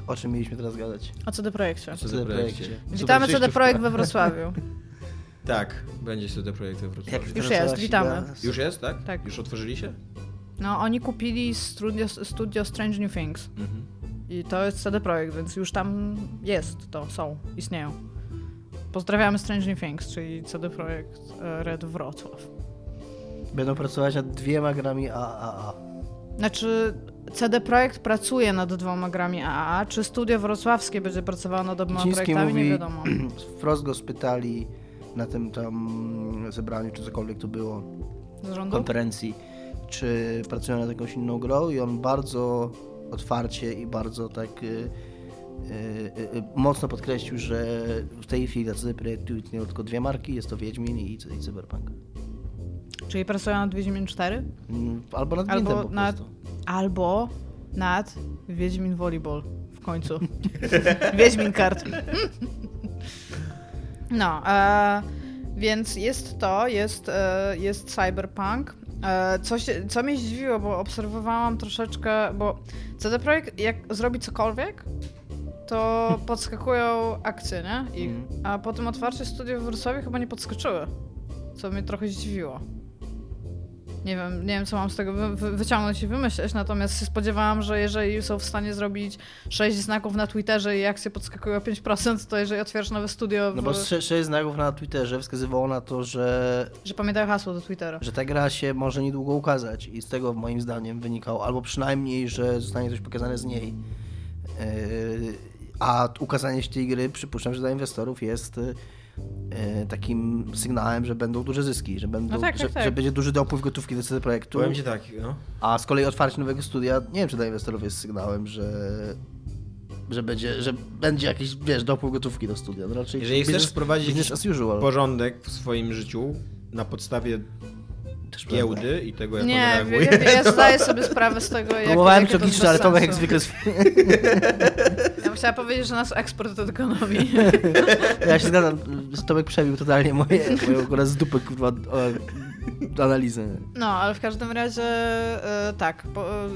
o czym mieliśmy teraz gadać? O CD Projekcie. Co za projekcie. Witamy CD Projekt we Wrocławiu. Tak, będzie CD Projekt we Wrocławiu. Jak Już teraz jest, zaraz witamy. idę- Już jest, tak? Tak. Już otworzyli się? No, oni kupili studio, studio Strange New Things. Mhm. I to jest CD Projekt, więc już tam jest to, są, istnieją. Pozdrawiamy Strange New Things, czyli CD Projekt e, Red Wrocław. Będą pracować nad dwiema grami AAA. Znaczy, CD Projekt pracuje nad dwoma grami AAA, czy studio wrocławskie będzie pracowało nad oboma Kaczyński projektami, nie mówi, wiadomo. wprost go spytali na tym tam zebraniu, czy cokolwiek to było, Z rządu? konferencji, czy pracują nad jakąś inną grą i on bardzo otwarcie i bardzo tak y, y, y, mocno podkreślił, że w tej chwili dla CD Projektu istnieją tylko dwie marki, jest to Wiedźmin i, i Cyberpunk. Czyli pracują nad Wiedźmin 4, Mm, Albo nad Albo albo po nad, prostu. albo nad Wiedźmin Volleyball w końcu. Wiedźmin kart. No, e, więc jest to, jest, e, jest cyberpunk. E, co, się, co mnie zdziwiło, bo obserwowałam troszeczkę, bo CD Projekt jak zrobi cokolwiek, to podskakują akcje, nie? Ich, Mhm. A po tym otwarciu studiów w Wrocławiu chyba nie podskoczyły, co mnie trochę zdziwiło. Nie wiem, nie wiem, co mam z tego wy- wy- wyciągnąć i wymyśleć, natomiast się spodziewałam, że jeżeli są w stanie zrobić 6 znaków na Twitterze i akcje podskakują o 5%, to jeżeli otwierasz nowe studio w... No bo sze- sześć znaków na Twitterze wskazywało na to, że Że pamiętają hasło do Twittera. że ta gra się może niedługo ukazać i z tego moim zdaniem wynikał, albo przynajmniej, że zostanie coś pokazane z niej. Yy, A ukazanie się tej gry, przypuszczam, że dla inwestorów jest yy, takim sygnałem, że będą duże zyski, że, będą, No tak, tak, że, tak. że będzie duży dopływ gotówki do CD Projektu, Powiem ci tak, no. a z kolei otwarcie nowego studia, nie wiem, czy dla inwestorów jest sygnałem, że że będzie, że będzie jakiś, wiesz, dopływ gotówki do studia. No raczej Jeżeli chcesz wprowadzić business as jakiś usual. Porządek w swoim życiu na podstawie Też prawda. giełdy i tego, jak on Nie, wie- reaguje. ja, ja, ja zdaję sobie sprawę z tego, jak Próbowałem jakie to przegliczyć, bez ale Tomek jak sensu. zwykle sw- Ja bym chciała powiedzieć, że nas eksport od ekonomii. Ja się zgadzam, że Tomek przebił totalnie moje, moją akurat z dupy kurwa o, analizę. No, ale w każdym razie e, tak, bo, e,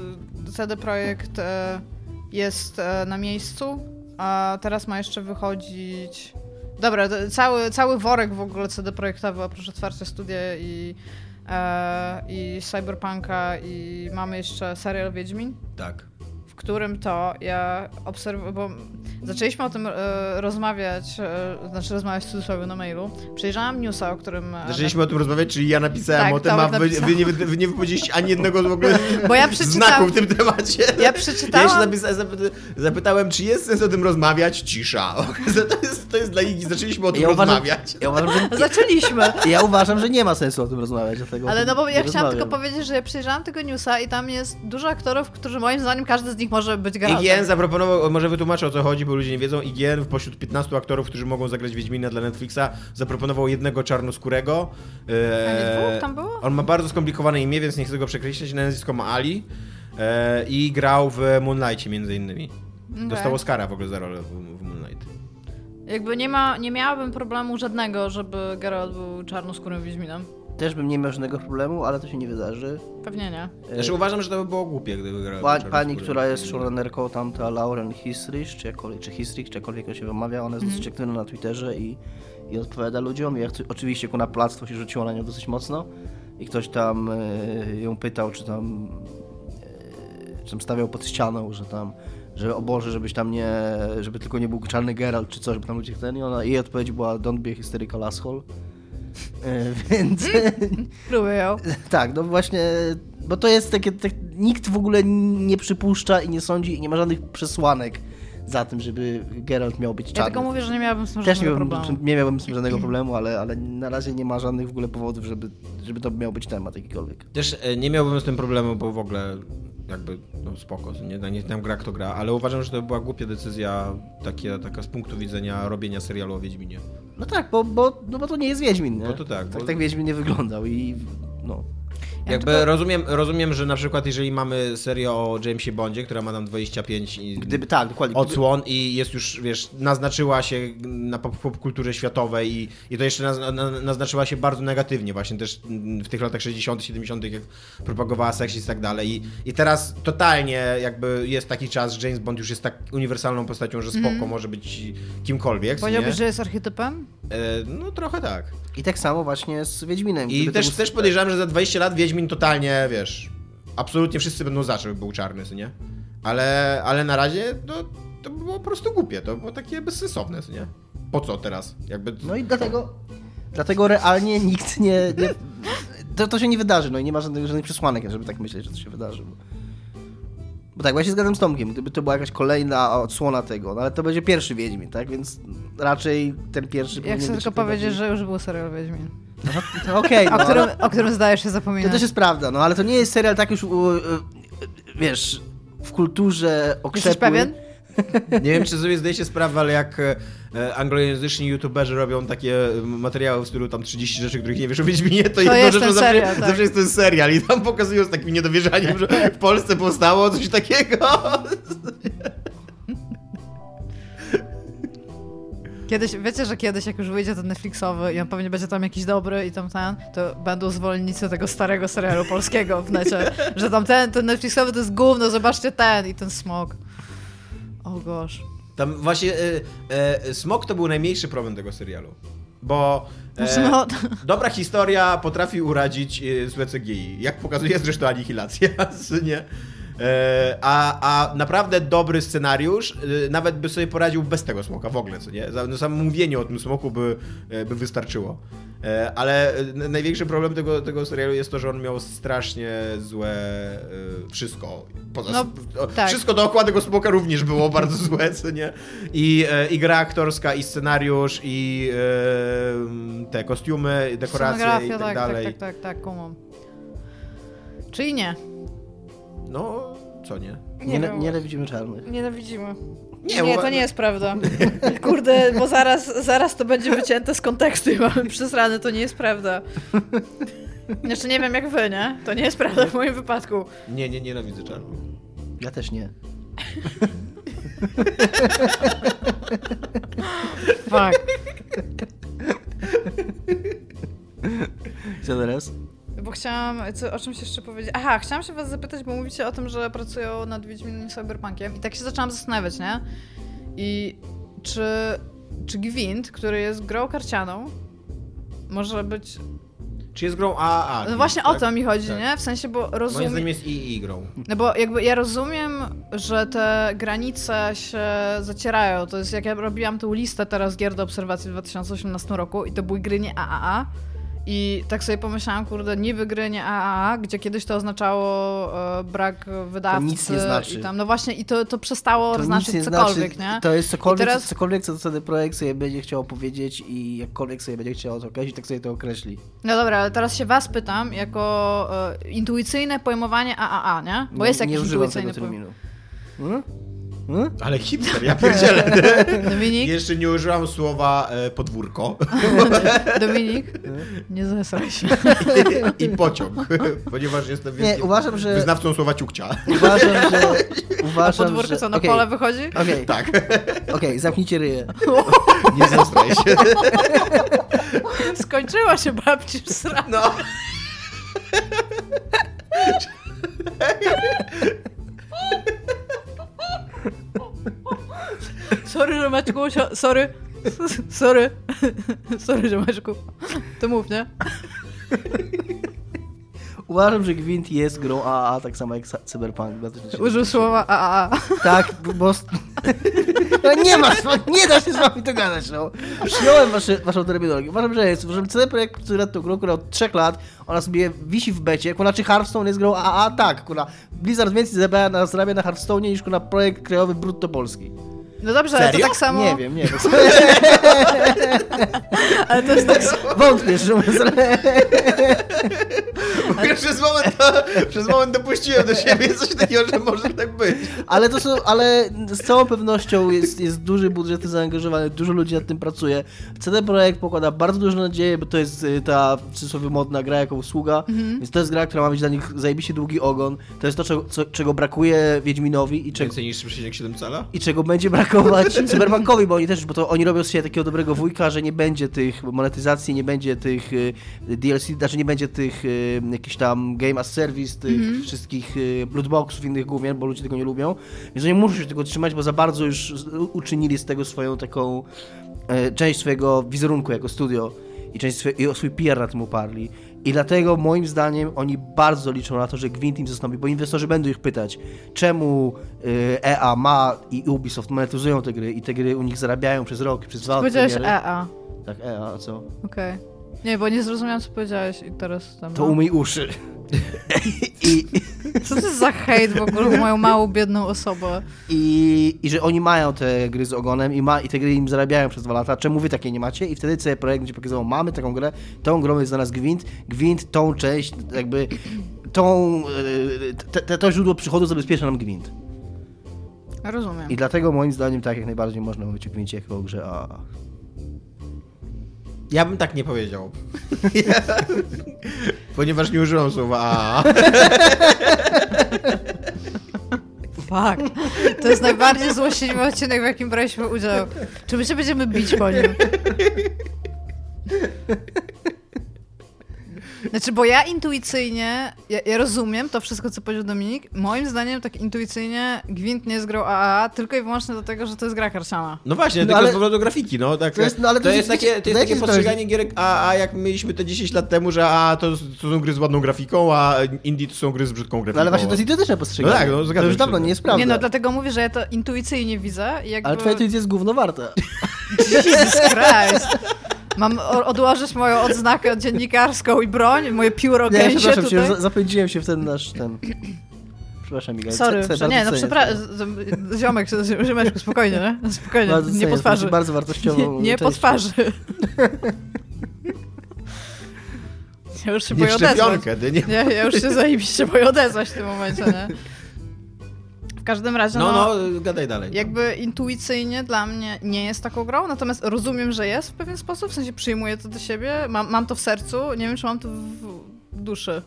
CD Projekt e, jest e, na miejscu, a teraz ma jeszcze wychodzić... Dobra, to cały, cały worek w ogóle CD Projektowy, oprócz otwarcia studia i, e, i Cyberpunka i mamy jeszcze serial Wiedźmin. Tak. w którym to ja obserwuję, bo zaczęliśmy o tym e, rozmawiać, e, znaczy rozmawiać w cudzysłowie na mailu. Przejrzałam newsa, o którym... e, Zaczęliśmy o tym rozmawiać, czyli ja napisałem Tak, o tym, a Tomek wy, napisał. wy nie, wy, wy nie wypowiedzieliście ani jednego w ogóle na- bo ja znaku przeczytałam... w tym temacie. Ja Ja się przeczytałam... napisa, zapy, zapytałem, czy jest sens o tym rozmawiać? Cisza. To jest, to jest dla Igi, zaczęliśmy o tym Ja uważam, rozmawiać. ja, uważam, że, Zaczęliśmy. ja uważam, że nie ma sensu o tym rozmawiać, dlatego o Ale tym no bo nie ja chciałam rozmawiam. tylko powiedzieć, że ja przejrzałam tego newsa i tam jest dużo aktorów, którzy moim zdaniem każdy z nich może być IGN Geraltem. zaproponował, może wytłumaczę o co chodzi, bo ludzie nie wiedzą, IGN pośród 15 aktorów, którzy mogą zagrać Wiedźmina dla Netflixa, zaproponował jednego czarnoskórego. A nie Eee, dwóch tam było? On ma bardzo skomplikowane imię, więc nie chcę go przekreślić, na nazwisko ma Ali eee, i grał w Moonlightie między innymi. Okej. Dostał Oscara w ogóle za rolę w, w Moonlight. Jakby nie, ma, nie miałabym problemu żadnego, żeby Geralt był czarnoskórym Wiedźminem. Też bym nie miał żadnego problemu, ale to się nie wydarzy. Pewnie nie. Znaczy uważam, że to by było głupie, gdyby grał E, Pa, czarnoskóry. pani, która jest showrunnerką, tamta Lauren Hisrich, czy jakkolwiek, czy Hisrich, czy jakkolwiek to się wymawia, ona jest dosyć aktywna na Twitterze i, i odpowiada ludziom. Ja chcę, oczywiście kuna plactwo się rzuciło na nią dosyć mocno i ktoś tam e, ją pytał, czy tam, e, czy tam stawiał pod ścianą, że tam, że o Boże, żebyś tam nie, żeby tylko nie był czarny Geralt, czy co, żeby tam ludzie chcieli. I ona, jej odpowiedź była, don't be a hysterical asshole. E, Więc... Lubię ją. Tak, no właśnie, bo to jest takie, tak, nikt w ogóle nie przypuszcza i nie sądzi i nie ma żadnych przesłanek za tym, żeby Geralt miał być Ja czarny. tylko mówię, że nie miałabym z tym Też nie żadnego miałbym, problemu. nie miałbym z tym żadnego problemu, ale, ale na razie nie ma żadnych w ogóle powodów, żeby, żeby to miał być temat jakikolwiek. Też e, nie miałbym z tym problemu, bo w ogóle jakby no spoko, nie, nie tam gra kto gra, ale uważam, że to była głupia decyzja takie, taka z punktu widzenia robienia serialu o Wiedźminie. No tak, bo, bo, no bo to nie jest Wiedźmin, nie? Bo to tak, Tak, bo- tak Wiedźmin nie wyglądał i no. Ja Jakby tylko- rozumiem, rozumiem, że na przykład jeżeli mamy serię o Jamesie Bondzie, która ma tam 25 i Gdyby tak, dokładnie. gdyby- odsłon i jest już, wiesz, naznaczyła się na pop- popkulturze światowej i, i to jeszcze naz, na, naznaczyła się bardzo negatywnie właśnie też mm, w tych latach 60 70 jak propagowała seksizm i tak dalej I, i teraz totalnie jakby jest taki czas, że James Bond już jest tak uniwersalną postacią, że spoko, może być kimkolwiek, nie? Mhm. Powiedziałbyś, że jest archetypem? E, no trochę tak. I tak samo właśnie z Wiedźminem. I gdyby to też, był- też podejrzewam, że za 20 lat Wiedźmin totalnie, wiesz, absolutnie wszyscy będą za, żeby był czarny, co nie? Ale, ale na razie no, to było po prostu głupie, to było takie bezsensowne, co nie? Po co teraz? Jakby... No i dlatego, dlatego realnie nikt nie... nie to, to się nie wydarzy, no i nie ma żadnych, żadnych przesłanek, żeby tak myśleć, że to się wydarzy. Bo, bo tak, właśnie zgadzam z Tomkiem, gdyby to była jakaś kolejna odsłona tego, no ale to będzie pierwszy Wiedźmin, tak? Więc raczej ten pierwszy Ja powinien chcę być tylko powiedzieć, bardziej- że już był serial Wiedźmin. To Okej, O no, którym, ale- o którym zdajesz się to zapominać. też jest prawda, no ale to nie jest serial tak już, u- u- wiesz, w kulturze okrzepły. Jesteś pewien? Nie wiem, czy sobie zdajecie sprawę, ale jak e, e, anglojęzyczni youtuberzy robią takie e, materiały w stylu tam 30 rzeczy, których nie wiesz o Wiedźminie, to, jedną jest rzeczą ten zawsze, serial, tak. zawsze jest ten serial i tam pokazują z takim niedowierzaniem, że w Polsce powstało coś takiego. Kiedyś, wiecie, że kiedyś jak już wyjdzie ten Netflixowy i on pewnie będzie tam jakiś dobry i tam ten, to będą zwolennicy tego starego serialu polskiego w necie. Że tam ten, ten Netflixowy to jest gówno, zobaczcie ten i ten smog. O gosh. Tam właśnie e, e, Smok to był najmniejszy problem tego serialu. Bo Znaczy, e, no- dobra historia potrafi uradzić e, złe CGI, jak pokazuje zresztą Anihilacja, czy nie? E, a, a naprawdę dobry scenariusz e, nawet by sobie poradził bez tego smoka w ogóle, co nie? Za- No, samo mówienie o tym smoku by, e, by wystarczyło. E, ale e, n- największy problem tego, tego serialu jest to, że on miał strasznie złe e, wszystko. Poza, No, o, tak. Wszystko wszystko dookoła tego smoka również było bardzo złe, co nie? I, e, I gra aktorska, i scenariusz, i e, te kostiumy, i dekoracje i Scenografia, tak, tak, tak, dalej. tak, tak, tak, kumam. Czyli nie. No, co nie? Nie, nie, widzimy czarnych. Nienawidzimy. Nie, Nie, bo- to nie jest prawda. Kurde, bo zaraz, zaraz to będzie wycięte z kontekstu i mamy przesrane, to nie jest prawda. Znaczy nie wiem jak wy, nie? To nie jest prawda w moim wypadku. Nie, nie, nienawidzę czarnych. Ja też nie. Fuck. Co teraz? Bo chciałam, co, o czymś jeszcze powiedzieć. Aha, chciałam się was zapytać, bo mówicie o tym, że pracują nad Wiedźminem i Cyberpunkiem i tak się zaczęłam zastanawiać, nie? I czy, czy Gwint, który jest grą karcianą, może być... Czy jest grą AAA? No właśnie tak? o to mi chodzi, tak. nie? W sensie, bo Moim rozumiem... zdaniem jest II grą. No bo jakby ja rozumiem, że te granice się zacierają. To jest jak ja robiłam tą listę teraz gier do obserwacji w 2018 roku i to były gry nie AAA. I tak sobie pomyślałam, kurde, niby gry nie AAA, gdzie kiedyś to oznaczało e, brak wydawcy. nic nie znaczy. I tam, no właśnie, i to, to przestało nic znaczyć nie cokolwiek, znaczy, nie? To jest cokolwiek, I teraz- cokolwiek co wtedy projekt sobie będzie chciał powiedzieć i jakkolwiek sobie będzie chciał to określić, tak sobie to określi. No dobra, ale teraz się was pytam, jako e, intuicyjne pojmowanie AAA, nie? Bo jest nie, jakieś nie używam tego intuicyjne pojmowanie. terminu. Hmm? Hmm? Ale Hitler, ja pierdzielę. Dominik, Jeszcze nie użyłam słowa e, podwórko Dominik, nie zesraj się. i pociąg, ponieważ jestem Nie, wielkim uważam, że... wyznawcą słowa ciukcia. Uważam, że... Na Uważam, podwórko że... co, na okej, pole wychodzi? Okej, Tak, okej, zamknijcie ryje. nie zestraj się. Skończyła się babci srana. No. Sorry, Rzemeczku, sio- sorry. Sorry. Sorry, Rzemeczku. To mów, nie? Uważam, że Gwint jest grą AAA, tak samo jak Sa- Cyberpunk. 2077. Użył słowa AAA. Tak, bo... No nie ma, nie da się z wami dogadać, no. Przyjąłem wasze, waszą terminologię. Uważam, że jest. Uważam, że CD Projekt, który nad tą grą, która od trzech lat, ona sobie wisi w becie, kurna, czy Hearthstone jest grą AA? Tak, kurna. Blizzard więcej zarabia na, zarabia na Hearthstone niż kurna projekt krajowy brutto polski. No dobrze, ale to Serio? tak samo. Nie wiem, nie wiem. Ale to jest tak samo. Wątpię, że Przez moment, to, przez moment dopuściłem do siebie coś takiego, że może tak być. Ale to są, ale z całą pewnością jest, jest duży budżet zaangażowany, dużo ludzi nad tym pracuje. CD Projekt pokłada bardzo dużo nadzieję, bo to jest y, ta w cudzysłowie modna gra jako usługa, więc to jest gra, która ma mieć dla nich zajebiście długi ogon. To jest to, czego, co, czego brakuje Wiedźminowi i czego, Więcej niż 3,7 cala? i czego będzie brakować Cyberbankowi, bo oni też, bo to oni robią z siebie takiego dobrego wujka, że nie będzie tych monetyzacji, nie będzie tych y, DLC, znaczy nie będzie tych y, jakichś tam game as service, tych wszystkich y, lootboxów, innych główien, bo ludzie tego nie lubią. Więc oni muszą się tego trzymać, bo za bardzo już z- u- uczynili z tego swoją taką e, część swojego wizerunku jako studio i część swe, i o swój PR na tym uparli. I dlatego moim zdaniem oni bardzo liczą na to, że Gwint im zastąpi, bo inwestorzy będą ich pytać, czemu y, EA ma i Ubisoft monetyzują te gry i te gry u nich zarabiają przez rok, przez dwa Powiedziałeś E No. premiery. EA. Tak, EA, a co? Okej. Nie, bo nie zrozumiałam, co powiedziałeś i teraz tam. To umyj uszy. I, Co to jest za hejt w ogóle, moją małą, biedną osobę? i, I że oni mają te gry z ogonem i, ma, i te gry im zarabiają przez dwa lata. Czemu wy takie nie macie? I wtedy CD Projekt będzie pokazywał, mamy taką grę, tą grą jest dla nas Gwint, Gwint tą część, jakby tą, yy, te, te, to źródło przychodu zabezpiecza nam Gwint. Rozumiem. I dlatego moim zdaniem tak jak najbardziej można mówić o Gwincie jako o grze A. Ja bym tak nie powiedział. Ponieważ nie użyłam słowa a. Fuck. To jest najbardziej złośliwy odcinek, w jakim braliśmy udział. Czy my się będziemy bić po nim? Znaczy, bo ja intuicyjnie, ja, ja rozumiem to wszystko, co powiedział Dominik. Moim zdaniem, tak intuicyjnie, Gwint nie zgrał AAA tylko i wyłącznie dlatego, że to jest gra karciana. No właśnie, No tylko ale- z powrotem do grafiki, no. Tak, To jest- no ale to, to jest jest- takie, to jest dajcie takie sobie postrzeganie gier a, a jak mieliśmy te 10 lat temu, że a to, to są gry z ładną grafiką, a indie to są gry z brzydką grafiką. No ale właśnie to jest idiotyczne postrzeganie. No tak, no, to zgadzam już się. dawno nie jest prawda. Nie no, dlatego mówię, że ja to intuicyjnie widzę. i Jakby... Ale twoja intuicja jest gówno warta. Jesus Christ. Mam o- odłożyć moją odznakę dziennikarską i broń, moje pióro Nie, gęsie przepraszam tutaj. cię, za- zapędziłem się w ten nasz, ten... Przepraszam, Miguel. Sorry, ce- prze- ce- nie, no bardzo cenię to. przepraszam, ziomek, z- ziomeczku, spokojnie, nie? Spokojnie, Bardzo nie cenię, potwarzy. to Bardzo wartościową Nie, nie część. potwarzy. Ja już się Nie boję odezwać. szczepionkę, ty nie. Nie, ja już się zajebiście boję odezwać w tym momencie, nie? W każdym razie, No, no, no, gadaj dalej. jakby intuicyjnie dla mnie nie jest taką grą, natomiast rozumiem, że jest w pewien sposób, w sensie przyjmuję to do siebie, mam, mam to w sercu, nie wiem, czy mam to w duszy.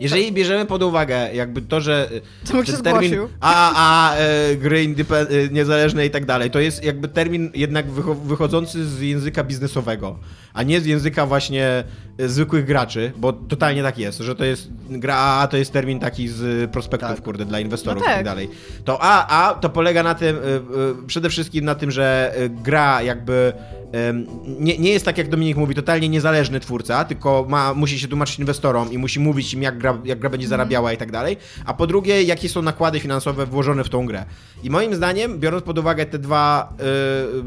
Jeżeli bierzemy pod uwagę jakby to, że y, Tomek ten się termin zgłosił. a, a, e, gry indype- e, niezależne i tak dalej, to jest jakby termin jednak wycho- wychodzący z języka biznesowego, a nie z języka właśnie e, zwykłych graczy, bo totalnie tak jest, że to jest gra AA to jest termin taki z prospektów, Tak. kurde, dla inwestorów No tak. i tak dalej. To AA to polega na tym, e, e, przede wszystkim na tym, że e, gra jakby em, nie, nie jest tak, jak Dominik mówi, totalnie niezależny twórca, tylko ma, musi się tłumaczyć inwestorom i musi mówić im, jak gra, jak gra będzie zarabiała i tak dalej. A po drugie, jakie są nakłady finansowe włożone w tą grę. I moim zdaniem, biorąc pod uwagę te dwa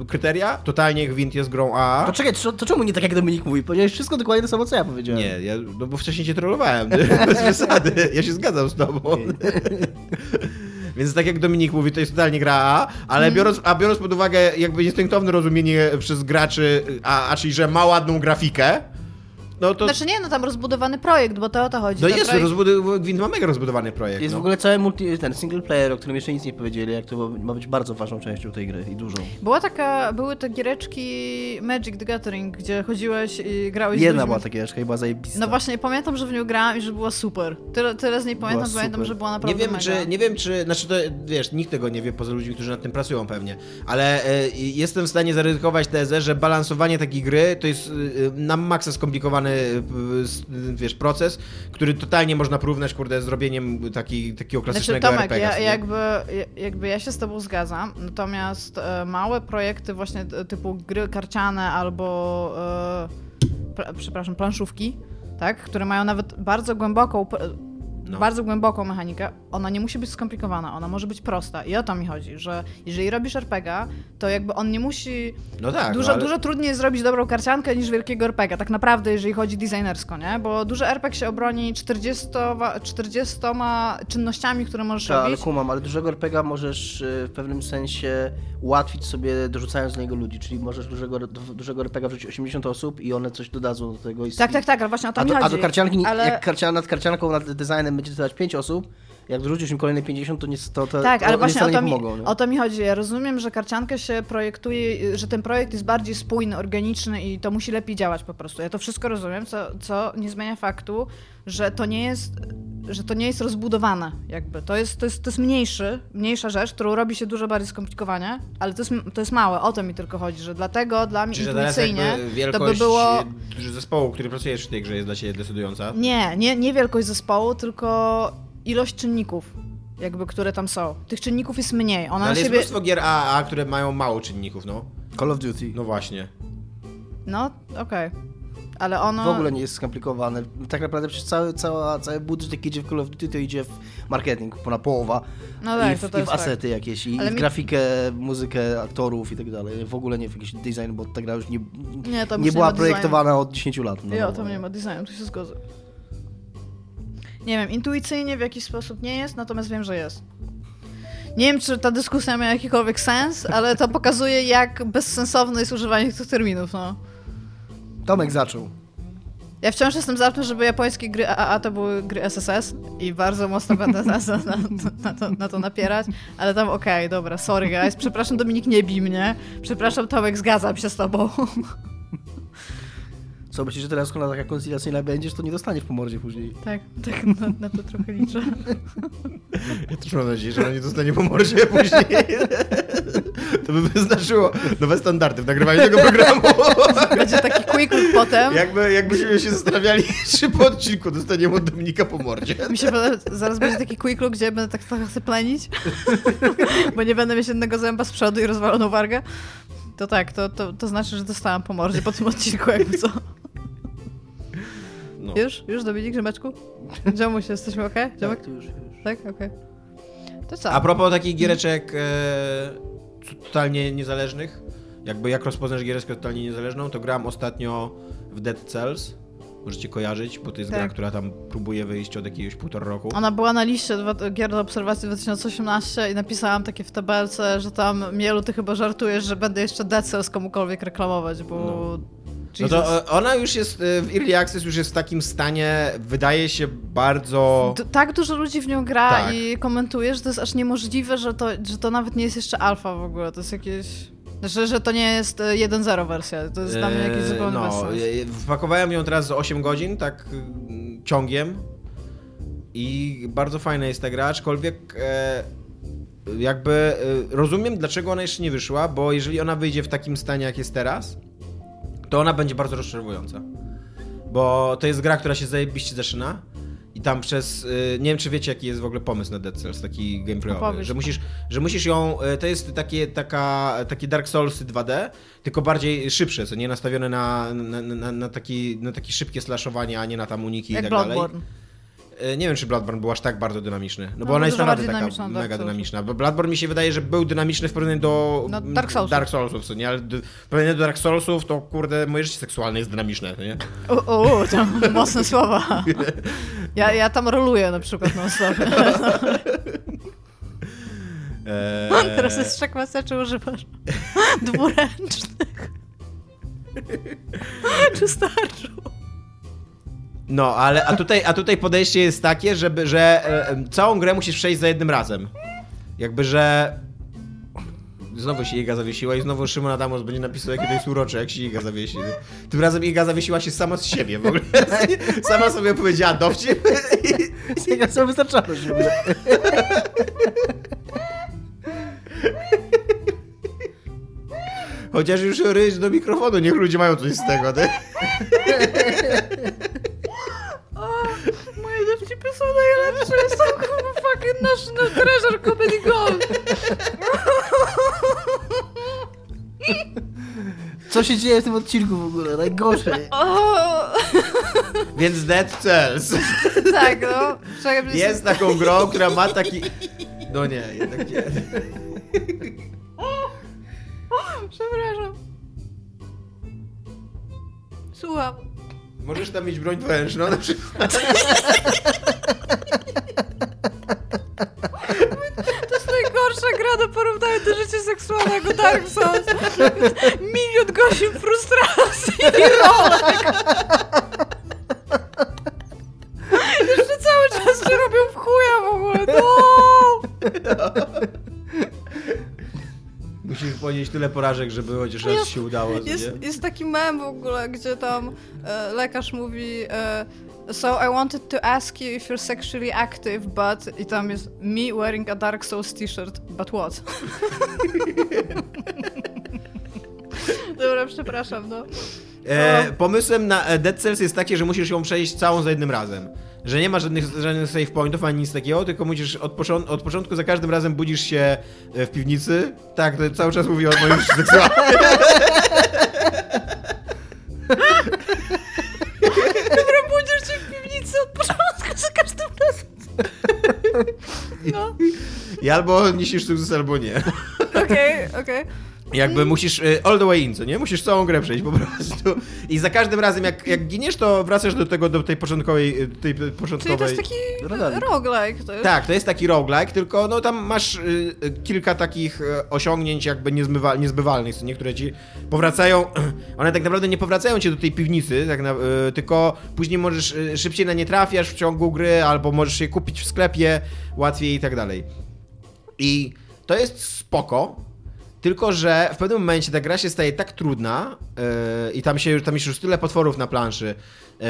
y, kryteria, totalnie Gwint jest grą To AA. czekaj, to, to czemu nie tak jak Dominik mówi? Powiedziałeś wszystko dokładnie to samo, co ja powiedziałem. Nie, ja, no bo wcześniej cię trollowałem, bez wysady. Ja się zgadzam z tobą. Więc tak jak Dominik mówi, to jest totalnie gra A, ale Mhm. biorąc, a biorąc pod uwagę jakby instynktowne rozumienie przez graczy, a, a czyli że ma ładną grafikę, no to Znaczy nie, no tam rozbudowany projekt, bo to o to chodzi. no ten jest, projekt... rozbudow- Gwint ma mega rozbudowany projekt. Jest no. w ogóle cały multi, ten single player, o którym jeszcze nic nie powiedzieli, jak to ma- ma być bardzo ważną częścią tej gry i dużą. Była taka, były te giereczki Magic the Gathering, gdzie chodziłeś i grałeś z Jedna ludźmi. była taka jeszka i była zajebista. No właśnie, pamiętam, że w nią grałam i że była super. Tyle, tyle z niej pamiętam, Była pamiętam, super. że była Nie naprawdę wiem, mega. czy, nie wiem, czy, znaczy to, wiesz, nikt tego nie wie poza ludźmi, którzy nad tym pracują pewnie, ale e, jestem w stanie zaryzykować tezę, że balansowanie takiej gry to jest e, na maksa skomplikowany, e, s- wiesz, proces, który totalnie można porównać, kurde, z robieniem taki, takiego Znaczy klasycznego Tomek, RPG. ja, jakby, ja- jakby ja się z tobą zgadzam, natomiast e, małe projekty właśnie e, typu gry karciane albo e, pla- przepraszam, planszówki, tak, które mają nawet bardzo głęboką pr- No. bardzo głęboką mechanikę, ona nie musi być skomplikowana, ona może być prosta. I o to mi chodzi, że jeżeli robisz RPGa, to jakby on nie musi... No tak, dużo, no, ale- dużo trudniej jest zrobić dobrą karciankę niż wielkiego RPGa, tak naprawdę, jeżeli chodzi designersko, nie? Bo duży RPG się obroni 40, 40 czynnościami, które możesz Tak, ale robić. kumam, ale dużego RPGa możesz y, w pewnym sensie ułatwić sobie dorzucając do niego ludzi, czyli możesz dużego, du- dużego RPGa wrzucić 80 osób i one coś dodadzą do tego. I Tak, tak, tak, ale właśnie o to A mi do, chodzi. a do karcianki, nie- ale... jak karcian, nad karcianką, nad designem będzie dodać 5 osób, jak dorzucisz im kolejne 50, to nie to, to Tak, to, ale one właśnie o wcale to, nie mi, pomogą. nie? o to mi chodzi. Ja rozumiem, że karciankę się projektuje, że ten projekt jest bardziej spójny, organiczny i to musi lepiej działać po prostu. Ja to wszystko rozumiem, co, co nie zmienia faktu, że to nie jest że to nie jest rozbudowane jakby. To jest, to jest, to jest mniejszy, mniejsza rzecz, którą robi się dużo bardziej skomplikowanie, ale to jest, to jest małe. O to mi tylko chodzi, że dlatego dla mnie Czy że teraz intuicyjnie jakby to wielkość e, by było... zespołu, który pracujesz w tej grze jest dla ciebie decydująca? Nie, nie, nie wielkość zespołu, tylko ilość czynników, jakby, które tam są. Tych czynników jest mniej. Ona No, ale na jest siebie... mnóstwo gier AA, które mają mało czynników, no. Call of Duty. No właśnie. No, okej. Ale ono. W ogóle nie jest skomplikowane. Tak naprawdę przecież cały, cała, cały budżet, jaki idzie w Call of Duty, to idzie w marketing, ponad połowa. No tak, I w, to to i w jest fakt. asety jakieś, i, Ale i w mi- grafikę, muzykę aktorów i tak dalej. W ogóle nie w jakiś design, bo ta gra już nie, Nie, tam już nie nie była ma projektowana od 10 lat. No, ja no, tam nie ma designu, tu się zgodzę. Nie wiem, intuicyjnie w jakiś sposób nie jest, natomiast wiem, że jest. Nie wiem, czy ta dyskusja miała jakikolwiek sens, ale to pokazuje, jak bezsensowne jest używanie tych terminów, no. Tomek zaczął. Ja wciąż jestem za tym, żeby japońskie gry AAA to były gry SSS i bardzo mocno będę na, na, na, na, to, na to napierać, ale tam okej, dobra, sorry guys, przepraszam Dominik, nie bij mnie, przepraszam Tomek, zgadzam się z tobą. Co myślisz, że teraz ona taka koncyliacyjna będziesz, to nie dostaniesz po mordzie później. Tak, tak, na, na to trochę liczę. Ja też mam nadzieję, że ona nie dostanie po mordzie później. to by wyznaczyło nowe standardy w nagrywaniu tego programu. Będzie taki quick look potem. jakby, jakbyśmy się zastanawiali, czy po odcinku dostaniemy od Dominika po mordzie. Mi się podoba, zaraz będzie taki quick look, gdzie będę tak trochę chcę plenić, bo nie będę mieć jednego zęba z przodu i rozwaloną wargę. To tak, to, to, to znaczy, że dostałam po mordzie po tym odcinku, jakby co. No. Już? Już, Dominik, Rzymeczku? Dziomuś, jesteśmy okej? Okay? Dziomek? Tak, to już, już. Tak? Okej. To co? A propos takich giereczek e, totalnie niezależnych, jakby jak rozpoznasz giereczkę totalnie niezależną, to gram ostatnio w Dead Cells. Możecie kojarzyć, bo to jest gra, Tak. która tam próbuje wyjść od jakiegoś półtora roku. Ona była na liście dwa- gier do obserwacji 2018 i napisałam takie w tabelce, że tam Mielu, ty chyba żartujesz, że będę jeszcze Dead Cells komukolwiek reklamować, bo... No Jesus. to e, ona już jest e, w Early Access, już jest w takim stanie, wydaje się bardzo. D- tak dużo ludzi w nią gra Tak. i komentuje, że to jest aż niemożliwe, że to, że to nawet nie jest jeszcze alfa w ogóle. To jest jakieś. Że, że to nie jest e, 1.0 wersja. To jest dla mnie jakiś E, zupełny no, bezsens. e, Wpakowałem ją teraz z 8 godzin, tak mm, ciągiem. I bardzo fajna jest ta gra, aczkolwiek e, jakby e, rozumiem, dlaczego ona jeszcze nie wyszła, bo jeżeli ona wyjdzie w takim stanie, jak jest teraz, to ona będzie bardzo rozczarowująca. Bo to jest gra, która się zajebiście zaczyna. I tam przez. y, Nie wiem, czy wiecie, jaki jest w ogóle pomysł na Dead Cells, taki gameplayowy. Opowiedz. Że musisz, że musisz ją. y, To jest takie, taka, takie Dark Soulsy 2D, tylko bardziej szybsze, co nie nastawione na, na, na, na, taki, na takie szybkie slashowanie, a nie na tam uniki Jak i tak Bloodborne. dalej. E, Nie wiem, czy Bloodborne był aż tak bardzo dynamiczny. No, bo No, ona jest dużo naprawdę bardziej taka dynamiczna od Dark mega Soulsów. dynamiczna. Bo Bloodborne mi się wydaje, że był dynamiczny w porównaniu do No, mm, Dark Soulsów. Dark Soulsów co nie? Ale d- w porównaniu do Dark Soulsów to kurde, moje życie seksualne jest dynamiczne, co nie? O, o, o, tam mocne słowa. Ja, ja tam roluję na przykład na osobę. Eee, Teraz jest trzech maseczek używasz. Dwuręcznych. Czy starczy? No, ale a tutaj, a tutaj podejście jest takie, żeby, że e, em, całą grę musisz przejść za jednym razem. Jakby, że... Znowu się Iga zawiesiła i znowu Szymon Adamos będzie napisał, jakie to jest urocze, jak się Iga zawiesi. Tym razem Iga zawiesiła się sama z siebie w ogóle. Sama sobie powiedziała dowcip Ja sobie wystarczało, żeby... Chociaż już ryć do mikrofonu, niech ludzie mają coś z tego, ty. O, moje dowcipy są najlepsze. Są kurwa fucking national treasure comedy gold. Co się dzieje w tym odcinku w ogóle? Najgorsze. O! Więc Dead Cells Tak, no. Czekaj, jest taką grą, która ma taki... No nie, jednak nie. Przepraszam. Słucham. Możesz tam mieć broń wężną na przykład. To jest najgorsza gra do porównania do życia seksualnego Dark Souls. Milion godzin frustracji i rolek. Jeszcze cały czas się robią w chuja w ogóle. No! Musisz ponieść tyle porażek, żeby chociaż raz się udało. co Jest, nie? jest taki mem w ogóle, gdzie tam e, lekarz mówi e, So I wanted to ask you if you're sexually active, but... I tam jest me wearing a Dark Souls t-shirt, but what? Dobra, przepraszam, no. E, pomysłem na e, Dead Cells jest takie, że musisz ją przejść całą za jednym razem. Że nie ma żadnych, żadnych save pointów ani nic takiego, tylko musisz od, począ- od początku za każdym razem budzisz się e, w piwnicy. Tak, to cały czas mówię o moim życiu seksualnym. Dobra, budzisz się w piwnicy od początku za każdym razem. No, I albo niesiesz sukces, albo nie. okej, okej. Jakby musisz e, all the way in, co nie? Musisz całą grę przejść po prostu. I za każdym razem jak, jak giniesz, to wracasz do tego, do tej początkowej... e, Tej tej Czyli początkowej... to jest taki Rogalike. roguelike. To jest. Tak, to jest taki roguelike, tylko no tam masz y, y, kilka takich y, osiągnięć jakby niezmywa, niezbywalnych, co niektóre ci powracają, one tak naprawdę nie powracają cię do tej piwnicy, tak na, y, tylko później możesz, y, szybciej na nie trafiasz w ciągu gry, albo możesz je kupić w sklepie, łatwiej i tak dalej. I to jest spoko, tylko że w pewnym momencie ta gra się staje tak trudna yy, i tam się już, tam jest już tyle potworów na planszy yy,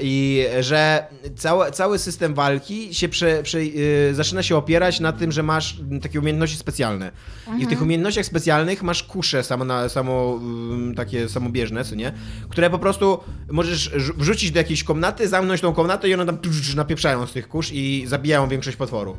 i że cały, cały system walki się prze, prze, yy, zaczyna się opierać na tym, że masz takie umiejętności specjalne. I w tych umiejętnościach specjalnych masz kusze samo, na, samo yy, takie samobieżne, co nie? Które po prostu możesz rzu- wrzucić do jakiejś komnaty, zamknąć tą komnatę i one tam tsz, napieprzają z tych kusz i zabijają większość potworów.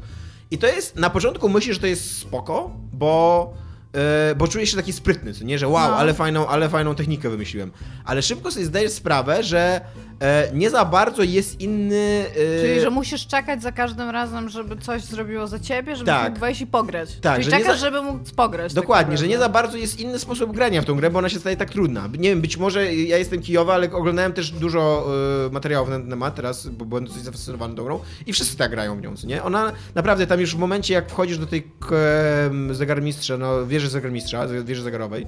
I to jest, na początku myślisz, że to jest spoko, bo, yy, bo czujesz się taki sprytny, co nie, że wow, No. ale, fajną, ale fajną technikę wymyśliłem. Ale szybko sobie zdajesz sprawę, że e, nie za bardzo jest inny... e, Czyli, że musisz czekać za każdym razem, żeby coś zrobiło za ciebie, żebyś Tak. mógł wejść i pograć. Tak, Czyli że nie czekasz, za- żeby mógł pograć. Dokładnie, tak że nie za bardzo jest inny sposób grania w tą grę, bo ona się staje tak trudna. Nie wiem, być może ja jestem Kijowa, ale oglądałem też dużo y, materiałów na ten temat teraz, bo byłem dosyć zafascynowany tą grą i wszyscy tak grają w nią, co nie? Ona naprawdę tam już w momencie, jak wchodzisz do tej k- em, zegarmistrza, no wieży zegarmistrza, ze- wieży zegarowej,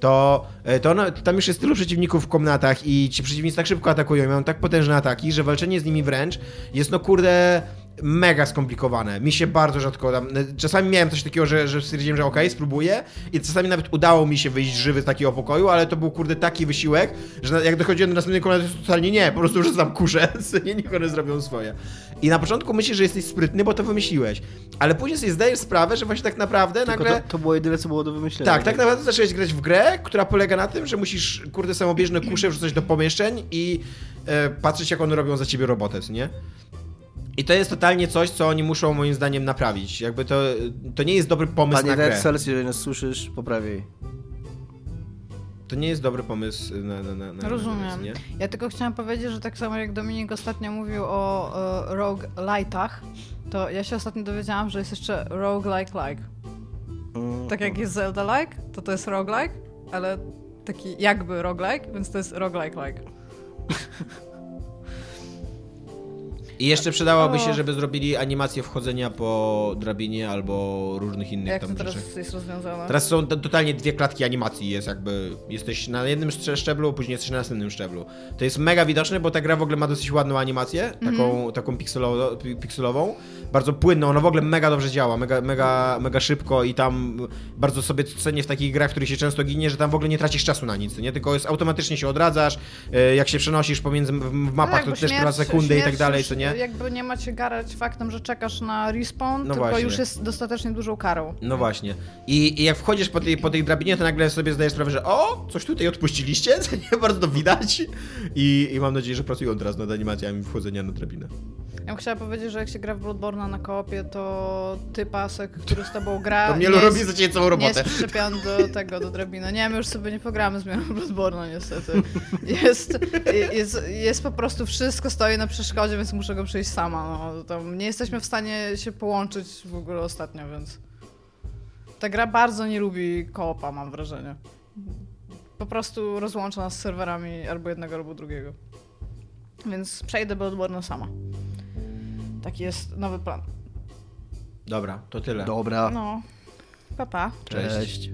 to, e, to ona, tam już jest tylu przeciwników w komnatach i ci przeciwnicy tak szybko atakują, i mają tak potężne ataki, że walczenie z nimi wręcz jest no kurde mega skomplikowane. Mi się bardzo rzadko tam. e, Czasami miałem coś takiego, że, że stwierdziłem, że okej, spróbuję. I czasami nawet udało mi się wyjść żywy z takiego pokoju, ale to był kurde taki wysiłek, że na- jak dochodziłem do następnej komnaty, to totalnie nie, po prostu rzucam kuszę, co nie, niech one zrobią swoje. I na początku myślisz, że jesteś sprytny, bo to wymyśliłeś. Ale później sobie zdajesz sprawę, że właśnie tak naprawdę Tylko nagle. to, to było jedyne, co było do wymyślenia. Tak, tak naprawdę zacząłeś grać w grę, która polega na tym, że musisz, kurde, samobieżne kusze wrzucać do pomieszczeń i e, patrzeć, jak one robią za ciebie robotę, co nie? I to jest totalnie coś, co oni muszą moim zdaniem naprawić. Jakby to, to nie jest dobry pomysł Panie na grę. Red Cells, jeżeli nas słyszysz, poprawiej. To nie jest dobry pomysł na... na, na, na Rozumiem. nie? Ja tylko chciałam powiedzieć, że tak samo jak Dominik ostatnio mówił o e, rogue lightach, to ja się ostatnio dowiedziałam, że jest jeszcze rogue like like. Mm, Tak jak jest Zelda like, to to jest rogue like, ale taki jakby rogue like, więc to jest rogue like like. I jeszcze przydałoby O. się, żeby zrobili animację wchodzenia po drabinie albo różnych innych Jak tam to rzeczach. teraz jest rozwiązane? Teraz są to- totalnie dwie klatki animacji, jest jakby, jesteś na jednym szcze- szczeblu, później jesteś na następnym szczeblu. To jest mega widoczne, bo ta gra w ogóle ma dosyć ładną animację, Mhm. taką, taką pikselo, pi- pikselową, bardzo płynną, ona w ogóle mega dobrze działa, mega, mega, mega szybko i tam bardzo sobie cenię w takich grach, w których się często ginie, że tam w ogóle nie tracisz czasu na nic, nie? Tylko jest, automatycznie się odradzasz, e, jak się przenosisz pomiędzy w- w No mapach, tak, bo to też trwa śmierć- sekundy i tak śmierć dalej, już co nie? Jakby nie macie garać faktem, że czekasz na respawn, tylko No właśnie. już jest dostatecznie dużą karą. No właśnie. I, i jak wchodzisz po tej, po tej drabinie, to nagle sobie zdajesz sprawę, że o, coś tutaj odpuściliście, co nie bardzo widać. I, i mam nadzieję, że pracują teraz nad animacjami wchodzenia na drabinę. Ja bym chciała powiedzieć, że jak się gra w Bloodborne'a na kopie, to ty pasek, który z tobą gra. To mnie nie robi jest- za ciebie całą Nie robotę. jest przyczepiony do tego, do drabiny. Nie, my już sobie nie pogramy z mianem Bloodborne'a niestety. Jest, jest, jest po prostu wszystko stoi na przeszkodzie, więc muszę go przejść sama. No, tam nie jesteśmy w stanie się połączyć w ogóle ostatnio, więc... Ta gra bardzo nie lubi koopa, mam wrażenie. Po prostu rozłącza nas z serwerami albo jednego, albo drugiego. Więc przejdę Bloodborne'a sama. Taki jest nowy plan. Dobra, to tyle. Dobra. No, papa. Pa. Cześć. Cześć.